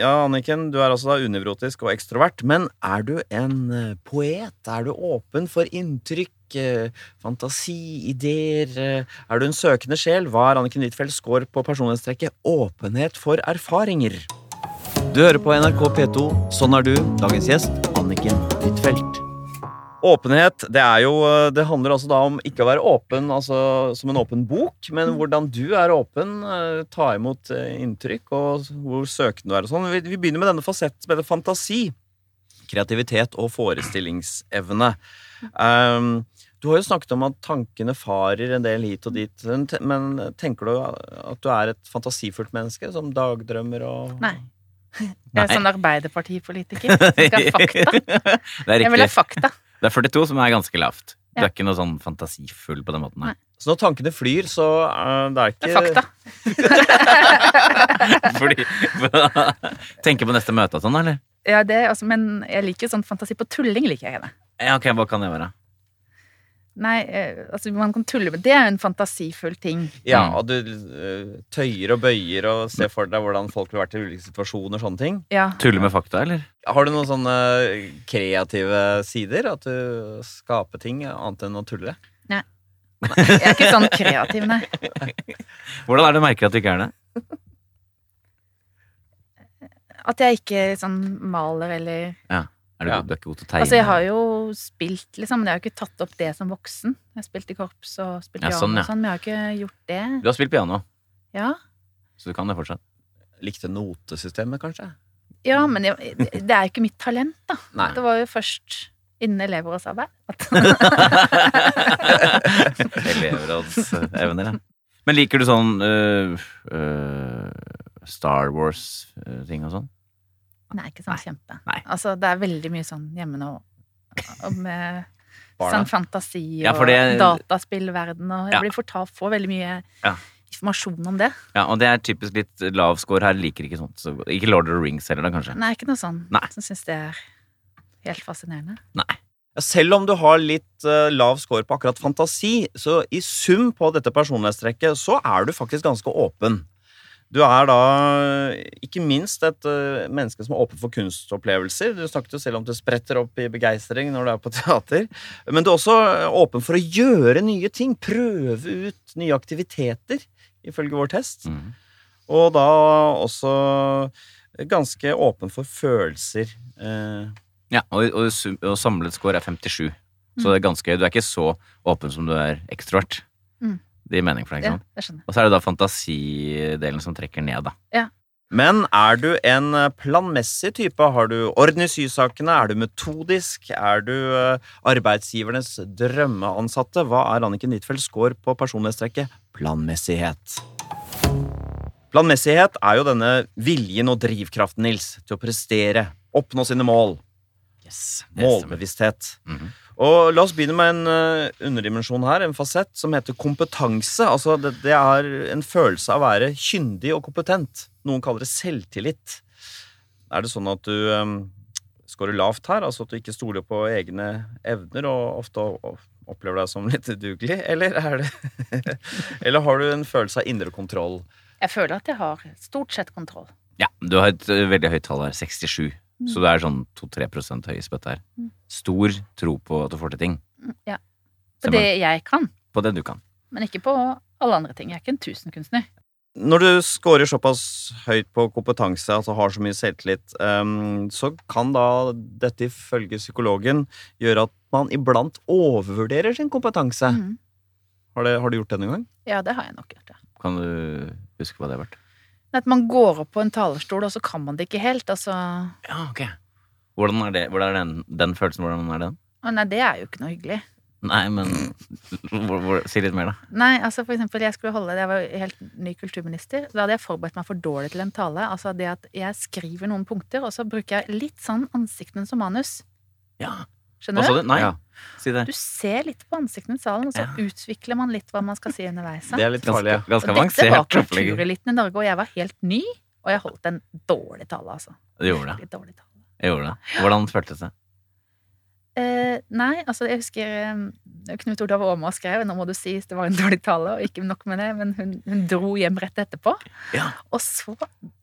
Ja, Anniken, du er altså da unevrotisk og ekstrovert, men er du en eh, poet? Er du åpen for inntrykk, eh, fantasi, ideer? eh, Er du en søkende sjel? Hva er Anniken Huitfeldts score på personlighetstrekket åpenhet for erfaringer? Du hører på NRK P2. Sånn er du. Dagens gjest, Anniken Huitfeldt. Åpenhet, det er jo Det handler altså da om ikke å være åpen altså, som en åpen bok,
Mm.
men hvordan du er åpen, eh, ta imot eh, inntrykk, og hvor søkende du er og sånn. Vi, vi begynner med denne fasetten som heter fantasi. Kreativitet og forestillingsevne. Ehm, du har jo snakket om at tankene farer en del hit og dit, men te- men tenker du at du er et fantasifullt menneske som dagdrømmer og
Nei. Jeg er
Nei.
sånn arbeiderpartipolitiker. som Skal ha fakta.
Det er
Jeg vil ha
riktig.
fakta.
Det er 42 som er ganske lavt. Du
Ja.
er ikke noe sånn fantasifull på den måten. Nei.
Så når tankene flyr, så eh, det er
Det
ikke
er fakta.
Fordi Tenker på neste møte og sånn, eller?
Ja, det, er altså, men jeg liker sånn fantasi på tulling. liker jeg det.
Ja, ok, hva kan det være?
Nei, eh, altså man kan tulle med Det er jo en fantasifull ting.
Ja,
Mm.
og du eh, tøyer og bøyer og ser for deg hvordan folk ville vært i ulike situasjoner. sånne ting.
Ja.
Tulle med fakta, eller?
Har du noen sånne kreative sider? At du skaper ting annet enn å tulle?
Jeg er ikke sånn kreativ, nei.
Hvordan er det du merker at du ikke er det?
At jeg ikke sånn maler eller
Er du,
Ja.
du er ikke god til å tegne?
Altså, jeg har jo spilt, liksom, men jeg har jo ikke tatt opp det som voksen. Jeg har spilt i korps og spilt
Ja,
piano
sånn, ja.
og sånn, men jeg har ikke gjort det.
Du har spilt piano,
Ja,
så du kan det fortsatt.
Likte notesystemet, kanskje?
ja men jeg, det er jo ikke mitt talent, da.
Nei.
Det var jo først innen elevrådsarbeid. at-
Elevrådsevner, ja. Men liker du sånn øh, øh, Star Wars-ting og sånn?
Nei, ikke sånn kjempe.
Nei.
Altså, det er veldig mye sånn hjemme nå. og Med
Barna.
sånn fantasi
Ja,
og
for det-
dataspillverden og Jeg
Ja.
blir fortalt, får veldig mye
Ja.
informasjon om det.
Ja, og det er typisk litt lav score her. Liker ikke sånt så godt. Ikke Lord of the Rings heller, da, kanskje?
Nei, ikke noe sånn
Nei.
som syns det er helt fascinerende.
Ja, Selv om du har litt eh, lav score på akkurat fantasi, så i sum på dette personlighetstrekket, så er du faktisk ganske åpen. Du er da eh, ikke minst et eh, menneske som er åpen for kunstopplevelser. Du snakket jo selv om det spretter opp i begeistring når du er på teater. Men du er også eh, åpen for å gjøre nye ting, prøve ut nye aktiviteter, ifølge vår test.
Mhm.
Og da også eh, ganske åpen for følelser. eh,
Ja, og, og, sum- og samlet score er 57. Så det er ganske Du er ikke så åpen som du er ekstrovert.
Mm.
Det gir mening for deg, ikke
Ja,
sant?
jeg skjønner.
Og så er det da fantasidelen som trekker ned, da.
Men er du en eh, planmessig type? Har du orden i sysakene? Er du metodisk? Er du eh, arbeidsgivernes drømmeansatte? Hva er Anniken Huitfeldts score på personlighetstrekket planmessighet? Planmessighet er jo denne viljen og drivkraften, Nils, til å prestere, oppnå sine mål,
Yes.
målbevissthet.
Mhm.
Og La oss begynne med en eh, underdimensjon her, en fasett, som heter kompetanse. Altså, det, det er en følelse av å være kyndig og kompetent. Noen kaller det selvtillit. Er det sånn at du um, scorer lavt her, altså at du ikke stoler på egne evner og ofte o- o- opplever deg som litt udugelig, eller, er det eller har du en følelse av indre kontroll?
Jeg føler at jeg har stort sett kontroll.
Ja, du har et ø, veldig høyt tall her, 67. Så det er sånn 2-3 høy i spøtt her.
Mm.
Stor tro på at du får til ting.
Ja.
Se
På
meg.
det jeg kan,
På det du kan.
men ikke på alle andre ting. Jeg er ikke en tusenkunstner.
Når du scorer såpass høyt på kompetanse, altså har så mye selvtillit, ehm, så kan da dette ifølge psykologen gjøre at man iblant overvurderer sin kompetanse.
Mhm.
Har, det, har du gjort det noen gang?
Ja, det har jeg nok gjort, ja.
Kan du huske hva det har vært?
Men At man går opp på en talerstol, og så kan man det ikke helt. Altså, å
Ja, ok. Hvordan er det? Hvordan er den, den følelsen? Hvordan er den?
nei, det er jo ikke noe hyggelig.
Nei, men hvor, hvor, Si litt mer, da.
Nei, altså for eksempel, jeg skulle holde Jeg var jo helt ny kulturminister. Da hadde jeg forberedt meg for dårlig til en tale. Altså det at jeg skriver noen punkter, og så bruker jeg litt sånn ansiktet mitt som manus.
Ja. Hva
Skjønner
sa
du?
du? Nei,
Ja.
si det.
Du ser litt på ansiktet mitt i salen, og så utvikler man litt hva man skal si underveis.
Det er litt farlig.
Ganske,
ja.
Og Dette
ganske
var
avansert opplegg.
kultureliten i Norge, og jeg var helt ny. Og jeg holdt en dårlig tale, altså.
Du gjorde det.
Litt dårlig tale.
Jeg gjorde det. Hvordan føltes det?
Eh, nei, altså jeg husker eh, Knut Olav Åmås skrev Nå må du si det var en dårlig tale, og ikke nok med det, men hun, hun dro hjem rett etterpå.
Ja.
Og så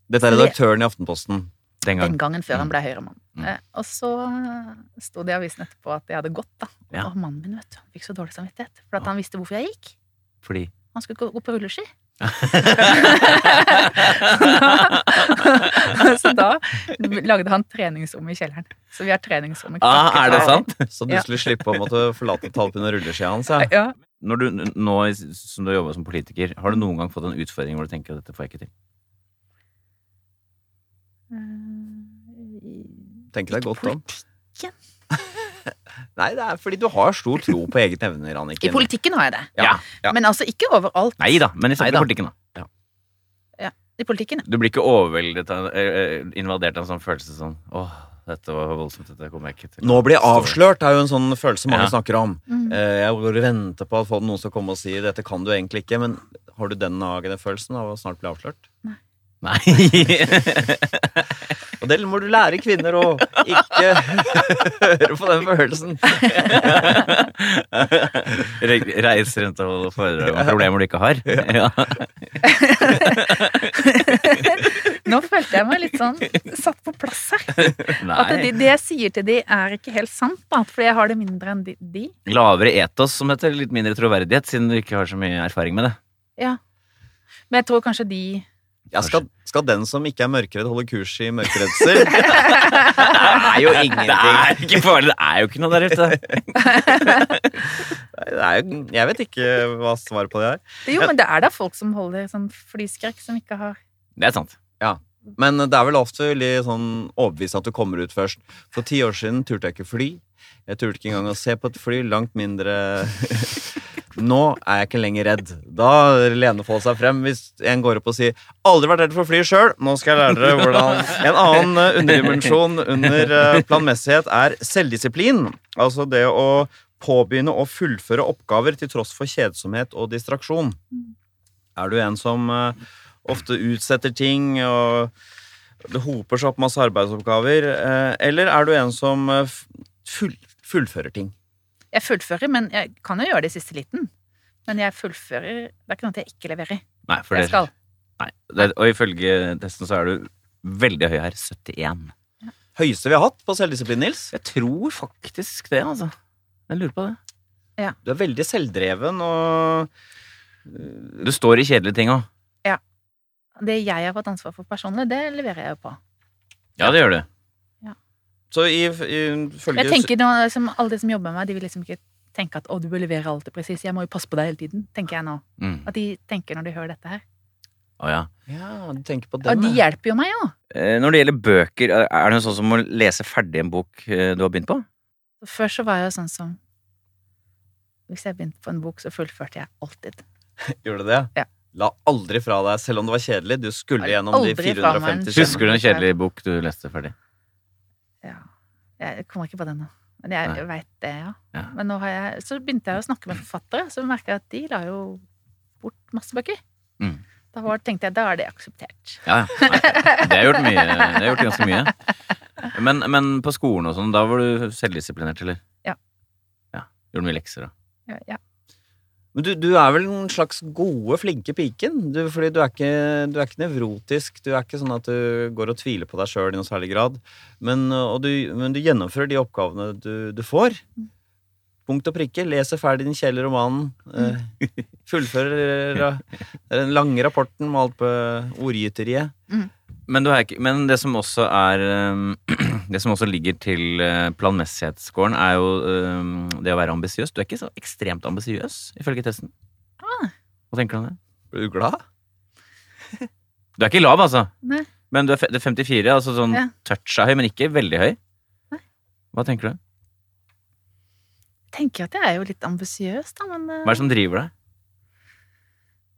Dette er redaktøren i Aftenposten.
Den
den
gang.
gangen før han
Mm.
ble høyremann.
Mm.
Eh, og så sto det i avisen etterpå at jeg hadde gått, da.
Ja.
Og mannen min vet du, han fikk så dårlig samvittighet, for at han visste hvorfor jeg gikk.
Fordi
Han skulle gå- gå på rulleski. så da lagde han treningsrom i kjelleren. Så vi har treningsrom i
ah, Er det sant?
Så du
Ja.
skulle slippe å måtte forlate talpen og rulleskia hans. Ja.
Ja.
Når du, nå i- som du har jobba som politiker, har du noen gang fått en utfordring hvor du tenker at dette får jeg ikke til?
Eh,
Tenker deg godt om.
politikken.
Nei, det er fordi du har stor tro på egne evner,
I
Anniken.
politikken har jeg det.
Ja, ja.
Men altså ikke overalt.
Nei da, men liksom, i
Neida.
politikken, da.
I politikken.
Du blir ikke overveldet av, eh, eh, invadert av en sånn følelse sånn åh, dette var voldsomt, dette kommer jeg ikke til.
Nå blir jeg avslørt, er jo en sånn følelse mange
Ja.
snakker om.
Mm.
Eh, Jeg går og venter på at folk- noen skal komme og si dette kan du egentlig ikke, men har du den nagende følelsen av å snart bli avslørt?
Nei.
Og det må du lære kvinner å ikke høre på den følelsen.
Re- Reiser rundt og holder foredrag om problemer du ikke har. Ja.
Nå følte jeg meg litt sånn satt på plass her. At det,
Nei.
det jeg sier til de, er ikke helt sant, da. For jeg har det mindre enn de. de.
Lavere etos, som heter. Litt mindre troverdighet, siden du ikke har så mye erfaring med det.
Men jeg tror kanskje de
Ja, skal, skal den som ikke er mørkeredd, holde kurs i mørkeredsel? det er jo
Det
ingenting.
er ikke farlig, det er jo ikke noe der ute.
Det er jo, jeg vet ikke hva svaret på det er.
Jo, men det er da folk som holder sånn flyskrekk, som ikke har
Det er sant.
Men det er vel ofte veldig sånn overbevist at du kommer ut først. For ti år siden turte jeg ikke fly. Jeg turte ikke engang å se på et fly. Langt mindre Nå er jeg ikke lenger redd. Da lener folk seg frem hvis en går opp og sier 'Aldri vært redd for fly sjøl', nå skal jeg lære dere hvordan En annen eh, underdimensjon under eh, planmessighet er selvdisiplin. Altså det å påbegynne og fullføre oppgaver til tross for kjedsomhet og distraksjon. Er du en som eh, ofte utsetter ting og det hoper seg opp masse arbeidsoppgaver? eh, Eller er du en som eh, f- full, fullfører ting?
Jeg fullfører, men jeg kan jo gjøre det i siste liten. Men jeg fullfører Det er ikke noe at jeg ikke leverer.
Nei, for
Jeg
det,
skal.
nei. Det, og ifølge testen så er du veldig høy her. 71.
Høyeste vi har hatt på selvdisiplin, Nils.
Jeg tror faktisk det, altså. Jeg lurer på det.
Du er veldig selvdreven og
Du står i kjedelige ting òg.
Det jeg har fått ansvar for personlig, det leverer jeg jo på.
Ja, det gjør du.
Så i, i følge
Jeg tenker nå, som Alle de som jobber med meg, de vil liksom ikke tenke at 'å, du bør levere alt det presis', jeg må jo passe på deg hele tiden, tenker jeg nå.
Mm.
At de tenker når de hører dette her.
Å, ja.
Ja, du tenker på
Og
den.
de
ja.
hjelper jo meg òg.
Eh, Når det gjelder bøker, er- er det noe sånn som å lese ferdig en bok eh, du har begynt på?
Før så var jeg jo sånn som Hvis jeg begynte på en bok, så fullførte jeg alltid.
Gjorde du det?
Ja.
La aldri fra deg, selv om det var kjedelig. Du skulle
Aldri
gjennom de
fra meg en
450
skjerm.
sidene.
Husker du en kjedelig bok du leste ferdig?
Ja. Jeg kommer ikke på den nå. Men jeg veit det, ja.
Ja.
Men nå har jeg, så begynte jeg å snakke med forfattere, så merka jeg at de la jo bort masse bøker.
Mm.
Da var, tenkte jeg da er det akseptert.
Ja, ja. Nei, Det har jeg gjort mye. Det har jeg gjort ganske mye. Men, men på skolen og sånn, da var du selvdisiplinert, eller?
Ja.
ja. Gjorde mye lekser, da.
Ja, ja.
Men du, du er vel den slags gode, flinke piken? Du, fordi du er, ikke, du er ikke nevrotisk. Du er ikke sånn at du går og tviler på deg sjøl i noe særlig grad. Men, øh, og du, men du gjennomfører de oppgavene du, du får. Punkt og prikke. Leser ferdig den kjedelige romanen. eh, fullfører eh, den lange rapporten med alt på ordgyteriet.
Men, du er ikke, men det som også er eh, Det som også ligger til eh, planmessighetsscoren, er jo eh, det å være ambisiøs. Du er ikke så ekstremt ambisiøs, ifølge testen.
Ah.
Hva tenker du om det?
Blir du glad?
Du er ikke lav, altså.
Nei.
Men du er fe- det er 54, altså sånn
Ja.
touch er høy, men ikke veldig høy.
Nei.
Hva tenker du?
Tenker at jeg er jo litt ambisiøs, da, men eh,
Hva er det som driver deg?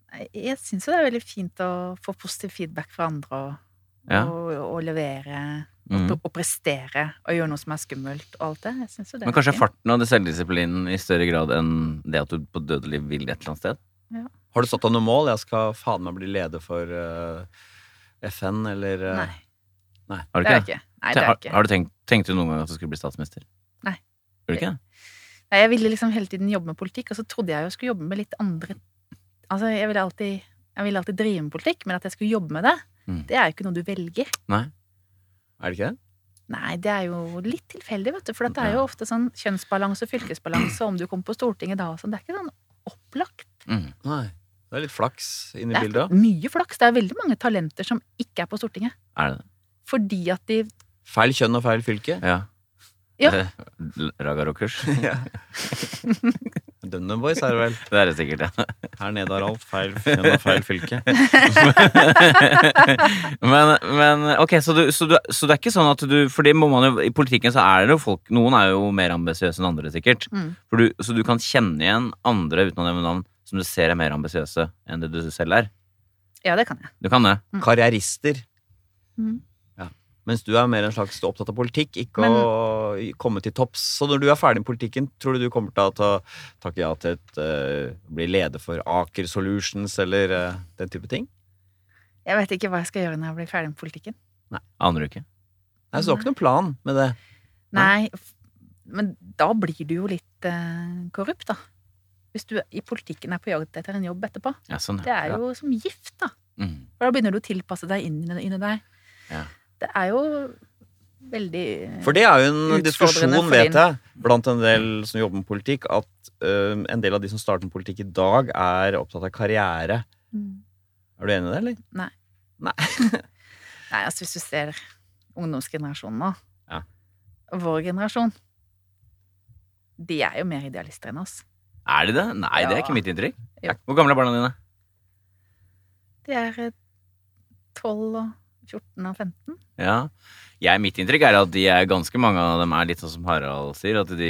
nei, jeg syns jo det er veldig fint å få positiv feedback fra andre og,
Ja.
og, og levere
Mm.
og prestere og gjøre noe som er skummelt og alt det. Jeg synes jo det
Men
er
kanskje
fint.
farten og det selvdisiplinen i større grad enn det at du på dødelig vil et eller annet sted?
Har du satt deg noe mål? Jeg skal faen meg bli leder for eh, FN, eller eh,
Nei,
Har du
det er
ikke
jeg
det?
ikke. Nei, det er
Har,
jeg ikke.
har du tenkt, tenkte du noen gang at du skulle bli statsminister?
Nei.
Gjorde du ikke det?
Nei, jeg ville liksom hele tiden jobbe med politikk, og så trodde jeg jo jeg skulle jobbe med litt andre Altså, jeg ville alltid, jeg ville alltid drive med politikk, men at jeg skulle jobbe med det,
Mm.
det er jo ikke noe du velger.
Er det ikke det?
Nei, det er jo litt tilfeldig, vet du. For at det er
Ja.
jo ofte sånn kjønnsbalanse og fylkesbalanse, om du kommer på Stortinget da og sånn. Det er ikke sånn opplagt.
Mm.
Nei. Det er litt flaks inni
Det
bildet.
er mye flaks. Det er veldig mange talenter som ikke er på Stortinget.
Er det det?
Fordi at de
Feil kjønn og feil fylke.
Ja.
Ja.
Raga rockers.
Ja. Dunham Boys er det vel.
Det er det sikkert, ja.
Her nede har alt feil kjønn og feil fylke.
men, men ok, så, du, så, du, så det er ikke sånn at du For det må man jo, i politikken så er det jo folk Noen er jo mer ambisiøse enn andre, sikkert.
mm,
For du, så du kan kjenne igjen andre uten å nevne navn som du ser er mer ambisiøse enn det du selv er.
Ja, det kan jeg.
Du kan det.
Karrierister.
Mm.
Mens du er mer en slags opptatt av politikk, ikke
Men-
å komme til topps. Så når du er ferdig med politikken, tror du du kommer til å ta, takke ja til et eh, Bli leder for Aker Solutions eller eh, den type ting?
Jeg vet ikke hva jeg skal gjøre når jeg blir ferdig med politikken.
Aner du ikke?
Nei, så du har ikke noen plan med det.
Nei, f- men da blir du jo litt eh, korrupt, da. Hvis du i politikken er på jakt etter en jobb etterpå.
Ja, sånn,
Det er jo som gift, da.
ja. Mm.
For da begynner du å tilpasse deg inn i det- inni deg.
Ja.
Det er jo veldig eh,
For det er jo en
Utfordrende
diskusjon,
for
vet
din-
jeg, blant en del som jobber med politikk, at eh, en del av de som starter med politikk i dag, er opptatt av karriere.
mm.
Er du enig i det, eller?
Nei.
Nei.
Nei, altså hvis du ser ungdomsgenerasjonen nå,
Ja.
vår generasjon, de er jo mer idealister enn oss.
Er de det? Nei, det er ikke
Ja.
mitt inntrykk.
Jo.
Hvor gamle er barna dine?
De er eh, 12 og 14 og 15.
Ja. Jeg, mitt inntrykk er at de er ganske mange av dem er litt sånn som Harald sier, at de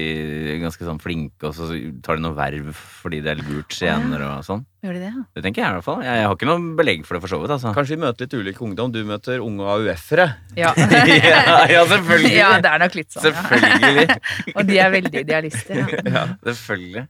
er ganske sånn flinke, og så tar de noe verv fordi det er gult senere og sånn.
Gjorde de det, ja?
Det tenker jeg i hvert fall. Jeg, jeg har ikke noe belegg for det for så vidt, altså.
Kanskje vi møter litt ulik ungdom. Du møter unge AUF-ere.
Ja,
ja, ja, selvfølgelig.
ja det er nok litt sånn. Ja.
Selvfølgelig.
Og de er veldig idealister. Ja.
Ja, selvfølgelig.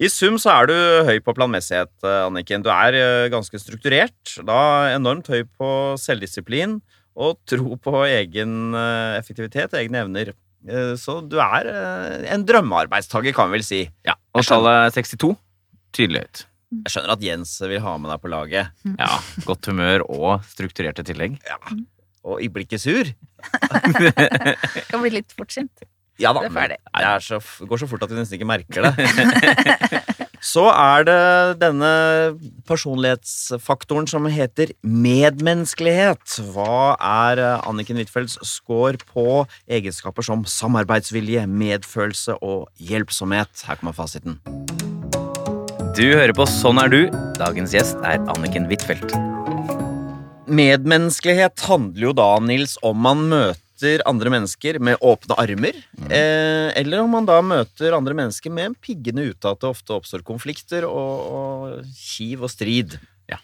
I sum så er du høy på planmessighet, eh, Anniken. Du er eh, ganske strukturert. Da enormt høy på selvdisiplin og tro på egen eh, effektivitet og egne evner. Eh, Så du er eh, en drømmearbeidstaker, kan vi vel si.
Ja, og tallet er 62. Tydelig høyt.
Jeg skjønner at Jens vil ha med deg på laget.
Ja, godt humør og strukturerte tillegg.
Og i blikket sur.
Kan bli litt fortsint.
Ja da,
Det er ferdig.
men Det er så, f- går så fort at vi nesten ikke merker det. så er det denne personlighetsfaktoren som heter medmenneskelighet. Hva er eh, Anniken Huitfeldts score på egenskaper som samarbeidsvilje, medfølelse og hjelpsomhet? Her kommer fasiten.
Du hører på Sånn er du. Dagens gjest er Anniken Huitfeldt.
Medmenneskelighet handler jo da, Nils, om man møter andre mennesker med åpne armer, eh, eller om man da møter andre mennesker med en piggende ut av at det ofte oppstår konflikter og, og kiv og strid.
Ja.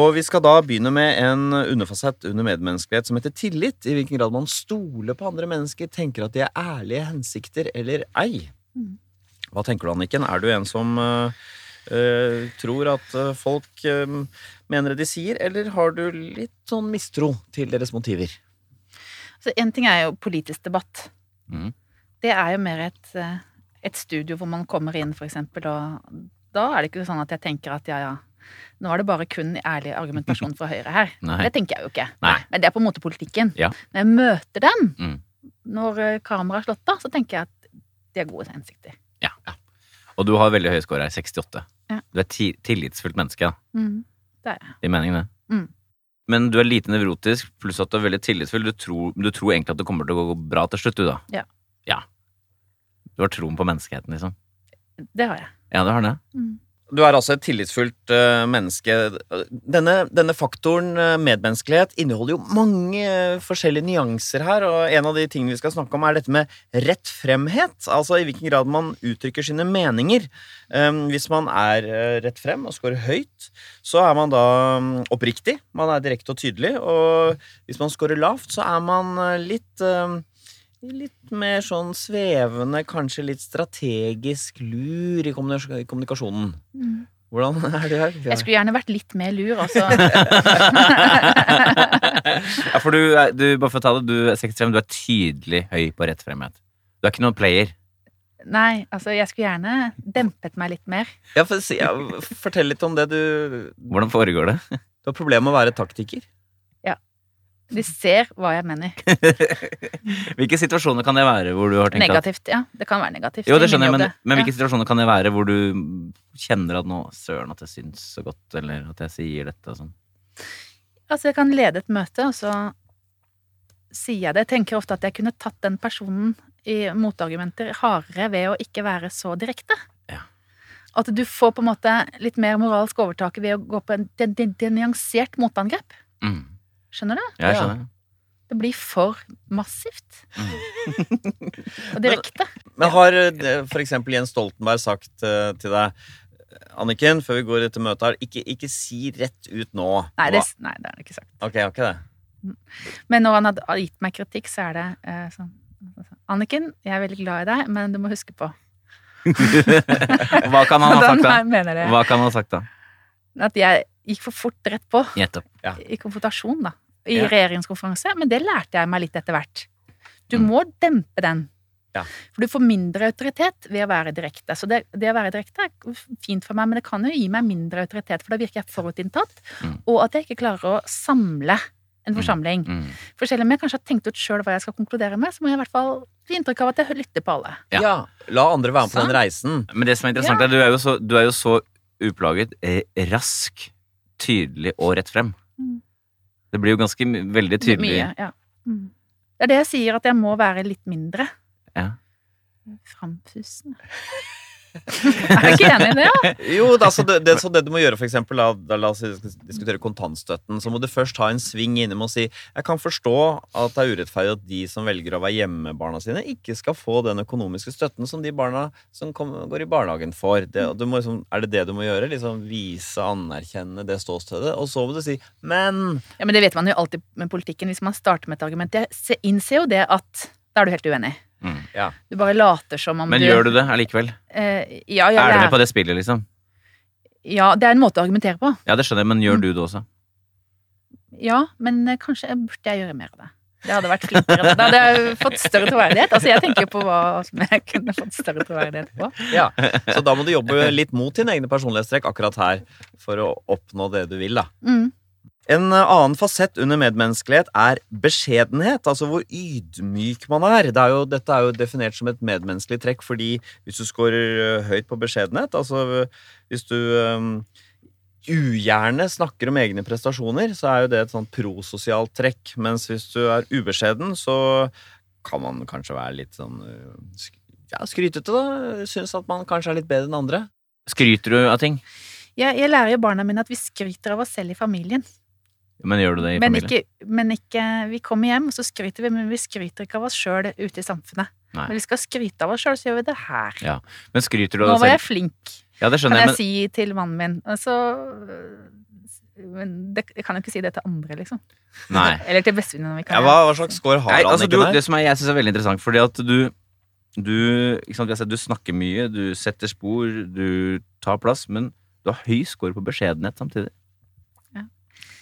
Og vi skal da begynne med en underfasett under medmenneskelighet som heter tillit. I hvilken grad man stoler på andre mennesker, tenker at de er ærlige hensikter eller ei.
Mhm.
Hva tenker du, Anniken? Er du en som eh, eh, tror at eh, folk eh, mener det de sier, eller har du litt sånn mistro til deres motiver?
Så en ting er jo politisk debatt.
Mhm.
Det er jo mer et, eh, et studio hvor man kommer inn, for eksempel, og da er det ikke sånn at jeg tenker at ja, ja, nå er det bare kun ærlig argumentasjon fra Høyre her.
Nei.
Det tenker jeg jo ikke.
Nei.
Men det er på en måte politikken.
Ja.
Når jeg møter dem,
Mm.
når eh, kameraet er slått av, så tenker jeg at de er gode hensikter.
Ja. Og du har veldig høy score her. 68.
Ja.
Du er ti tillitsfullt menneske. da.
Det er jeg.
Det er meningen, det.
Mm.
Men du er lite nevrotisk, pluss at du er veldig tillitsfull. Du tror, du tror egentlig at det kommer til å gå bra til slutt, du, da.
Ja.
Ja. Du har troen på menneskeheten, liksom.
Det har jeg.
Ja, du har det.
Du er altså et tillitsfullt eh, menneske. Denne, denne faktoren eh, medmenneskelighet inneholder jo mange eh, forskjellige nyanser her, og en av de tingene vi skal snakke om, er dette med rettfremhet. Altså i hvilken grad man uttrykker sine meninger. Um, hvis man er eh, rett frem og scorer høyt, så er man da mm, oppriktig. Man er direkte og tydelig, og hvis man scorer lavt, så er man eh, litt eh, Litt mer sånn svevende, kanskje litt strategisk lur i kommunikasjon- i kommunikasjonen. Hvordan er du her?
Jeg skulle gjerne vært litt mer lur også.
ja, for du, er- du, bare for å ta det, du er 65, du er tydelig høy på rett fremhet. Du er ikke noen player.
Nei, altså jeg skulle gjerne dempet meg litt mer.
Ja, for, si, ja, fortell litt om det. Du,
Hvordan foregår det?
du har problemer med å være taktiker.
De ser hva jeg mener.
Hvilke situasjoner kan det være hvor du har tenkt at
Negativt, ja. Det kan være negativt.
Jo, det
er min
skjønner jeg,
jobb,
men,
det.
men
Ja.
hvilke situasjoner kan det være hvor du kjenner at nå Søren, at jeg syns så godt, eller at jeg sier dette og sånn.
Altså, jeg kan lede et møte, og så sier jeg det. Jeg tenker ofte at jeg kunne tatt den personen i motargumenter hardere ved å ikke være så direkte.
Ja.
At du får på en måte litt mer moralsk overtak ved å gå på en det- det- det nyansert motangrep.
Mm.
Skjønner du?
Ja, jeg
Ja.
skjønner.
Det blir for massivt.
Mm.
og direkte.
Men har eh, for eksempel Jens Stoltenberg sagt eh, til deg Anniken, før vi går i dette møtet her, ikke, ikke si rett ut nå.
Nei, det, nei, det er det ikke sagt.
Ok, jeg har ikke det.
Men når han hadde gitt meg kritikk, så er det eh, sånn Anniken, jeg er veldig glad i deg, men du må huske på
Hva kan han ha sagt da?
Den mener det.
Hva kan han ha sagt da?
At jeg gikk for fort rett på.
Nettopp.
i konfrontasjon, da. I
Ja.
regjeringskonferanse. Men det lærte jeg meg litt etter hvert. Du
Mm.
må dempe den.
Ja.
For du får mindre autoritet ved å være direkte. Så det, det å være direkte er fint for meg, men det kan jo gi meg mindre autoritet, for da virker jeg forutinntatt,
Mm.
og at jeg ikke klarer å samle en forsamling.
Mm.
For selv om jeg kanskje har tenkt ut sjøl hva jeg skal konkludere med, så må jeg i hvert fall gi inntrykk av at jeg lytter på alle.
Ja.
Ja. La andre være med på
Sant.
den reisen.
Men det som er interessant,
Ja.
er du er jo så, du er jo så uplaget, eh, rask, tydelig og rett frem.
Mm.
Det blir jo ganske my- veldig tydelig.
Mye, ja. Mm. Det er det jeg sier, at jeg må være litt mindre.
Ja.
Framfusende. er du ikke enig i det? Ja?
Jo, da, så, det, det, så det du må gjøre, for eksempel, da, da, la oss si, vi skal diskutere kontantstøtten, så må du først ha en sving innom og si jeg kan forstå at det er urettferdig at de som velger å være hjemme med barna sine, ikke skal få den økonomiske støtten som de barna som kom, går i barnehagen får. Det, og du må, liksom, er det det du må gjøre? Liksom Vise, anerkjenne det ståstedet? Og så må du si men
Ja, men det vet man jo alltid med politikken. Hvis man starter med et argument, jeg se- innser jo det at da er du helt uenig.
Mm.
Ja.
Du bare later som om
Men
du
gjør du det allikevel?
Eh, ja, ja,
Er du
det
med
er,
på det spillet, liksom?
ja, det er en måte å argumentere på.
Ja, det skjønner jeg, men gjør
Mm.
du det også?
Ja, men eh, kanskje jeg- burde jeg gjøre mer av det. Det hadde vært flinkere. Da hadde jeg fått større troverdighet. Altså, jeg tenker jo på hva som jeg kunne fått større troverdighet på.
ja. Så da må du jobbe litt mot dine egne personlighetstrekk akkurat her for å oppnå det du vil, da.
Mm.
En eh, annen fasett under medmenneskelighet er beskjedenhet, altså hvor ydmyk man er. Det er jo, dette er jo definert som et medmenneskelig trekk, fordi hvis du scorer ø, høyt på beskjedenhet, altså ø, hvis du ø, ugjerne snakker om egne prestasjoner, så er jo det et sånt prososialt trekk, mens hvis du er ubeskjeden, så kan man kanskje være litt sånn ø, sk ja, skrytete, da. Syns at man kanskje er litt bedre enn andre.
Skryter du av ting?
Jeg, jeg lærer jo barna mine at vi skryter av oss selv i familien.
Men gjør du det i
Men
familien?
ikke, men ikke Vi kommer hjem, og så skryter vi, men vi skryter ikke av oss sjøl ute i samfunnet.
Nei.
Når vi skal skryte av oss sjøl, så gjør vi det her.
Ja, Men skryter du
Nå
av
var
deg
jeg
selv?
flink,
Ja, det
kan
skjønner
jeg
jeg, men
si til mannen min. Altså, øh, men det, jeg kan jo ikke si det til andre, liksom.
Nei.
Eller til bestevenninna mi. kan
Ja,
jeg.
hva, hva slags score har
Nei,
han
altså,
ikke
du,
der?
det som er, jeg synes er veldig interessant, fordi at du, du, ikke sant, vi har sett, du snakker mye, du setter spor, du tar plass, men du har høy score på beskjedenhet samtidig.
Ja.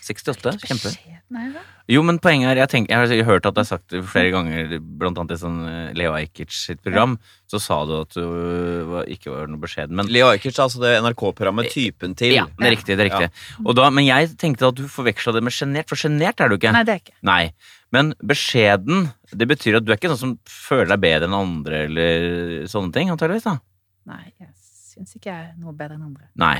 68, kjempe.
Beskjeden er jeg da.
Jo, men poenget er, jeg, tenker, jeg har jeg har hørt at det er sagt flere ganger, blant annet i sånn eh, Leo Ajkic sitt program, så sa du at du var, ikke var noe beskjeden, men
Leo Ajkic, altså det NRK-programmet Typen til.
ja, det er riktig, det er riktig. Og da, men jeg tenkte at du forveksla det med sjenert, for sjenert er du ikke.
Nei, det er jeg ikke.
Nei, men beskjeden, det betyr at du er ikke sånn som føler deg bedre enn andre, eller sånne ting, antageligvis da.
Nei, jeg syns ikke jeg er noe bedre enn andre.
Nei,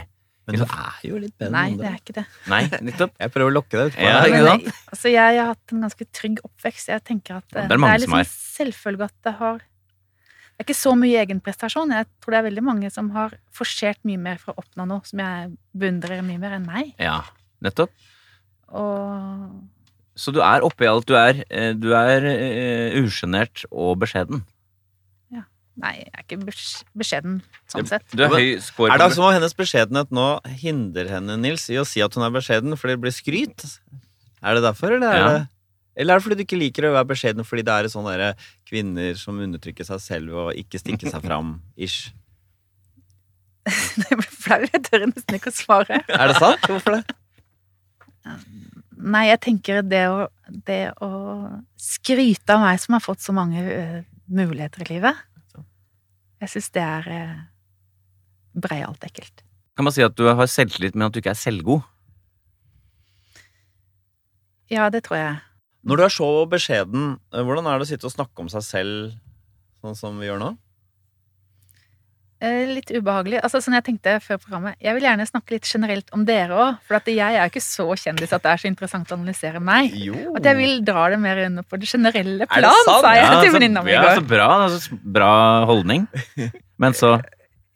Men du er jo litt bedre
Nei,
enn
det
andre.
er ikke det.
nei, nettopp.
Jeg prøver å lokke deg ut. på
Ja,
det.
ikke
Men
sant?
jeg- altså, jeg, har hatt en ganske trygg oppvekst. Jeg tenker at
Ja,
eh,
det er mange som
liksom
er.
selvfølgelig at det har Det er ikke så mye egenprestasjon. Jeg tror det er veldig mange som har forsert mye mer for å oppnå noe som jeg beundrer mye mer enn meg.
Ja, nettopp.
Og
Så du er oppe i alt, du er, eh, du er eh, usjenert og beskjeden.
Nei, jeg er ikke besk- beskjeden sånn sett.
Du
Ja,
er altså-
men
høy score
Er det altså
på
som om hennes beskjedenhet nå hindrer henne Nils, i å si at hun er beskjeden fordi det blir skryt? Er det derfor, eller er
Ja.
det eller er det fordi du ikke liker å være beskjeden fordi det er sånn derre kvinner som undertrykker seg selv og ikke stikker seg fram? ish?
Jeg blir flau, jeg tør nesten ikke å svare.
Er det sant? Hvorfor det?
Nei, jeg tenker det å, det å skryte av meg som har fått så mange ø, muligheter i livet Jeg syns det er uh, breialt ekkelt.
Kan man si at du har selvtillit, men at du ikke er selvgod?
Ja, det tror jeg.
Når du er så beskjeden, eh, hvordan er det å sitte og snakke om seg selv sånn som vi gjør nå?
Eh, litt ubehagelig. Altså, sånn jeg tenkte før programmet Jeg vil gjerne snakke litt generelt om dere òg, for at jeg er jo ikke så kjendis at det er så interessant å analysere meg.
Jo.
At jeg vil dra det mer under på det generelle
det
plan,
sant?
sa jeg
Ja,
til
så-
venninna mi i
ja,
går.
så bra, altså, bra holdning. Men så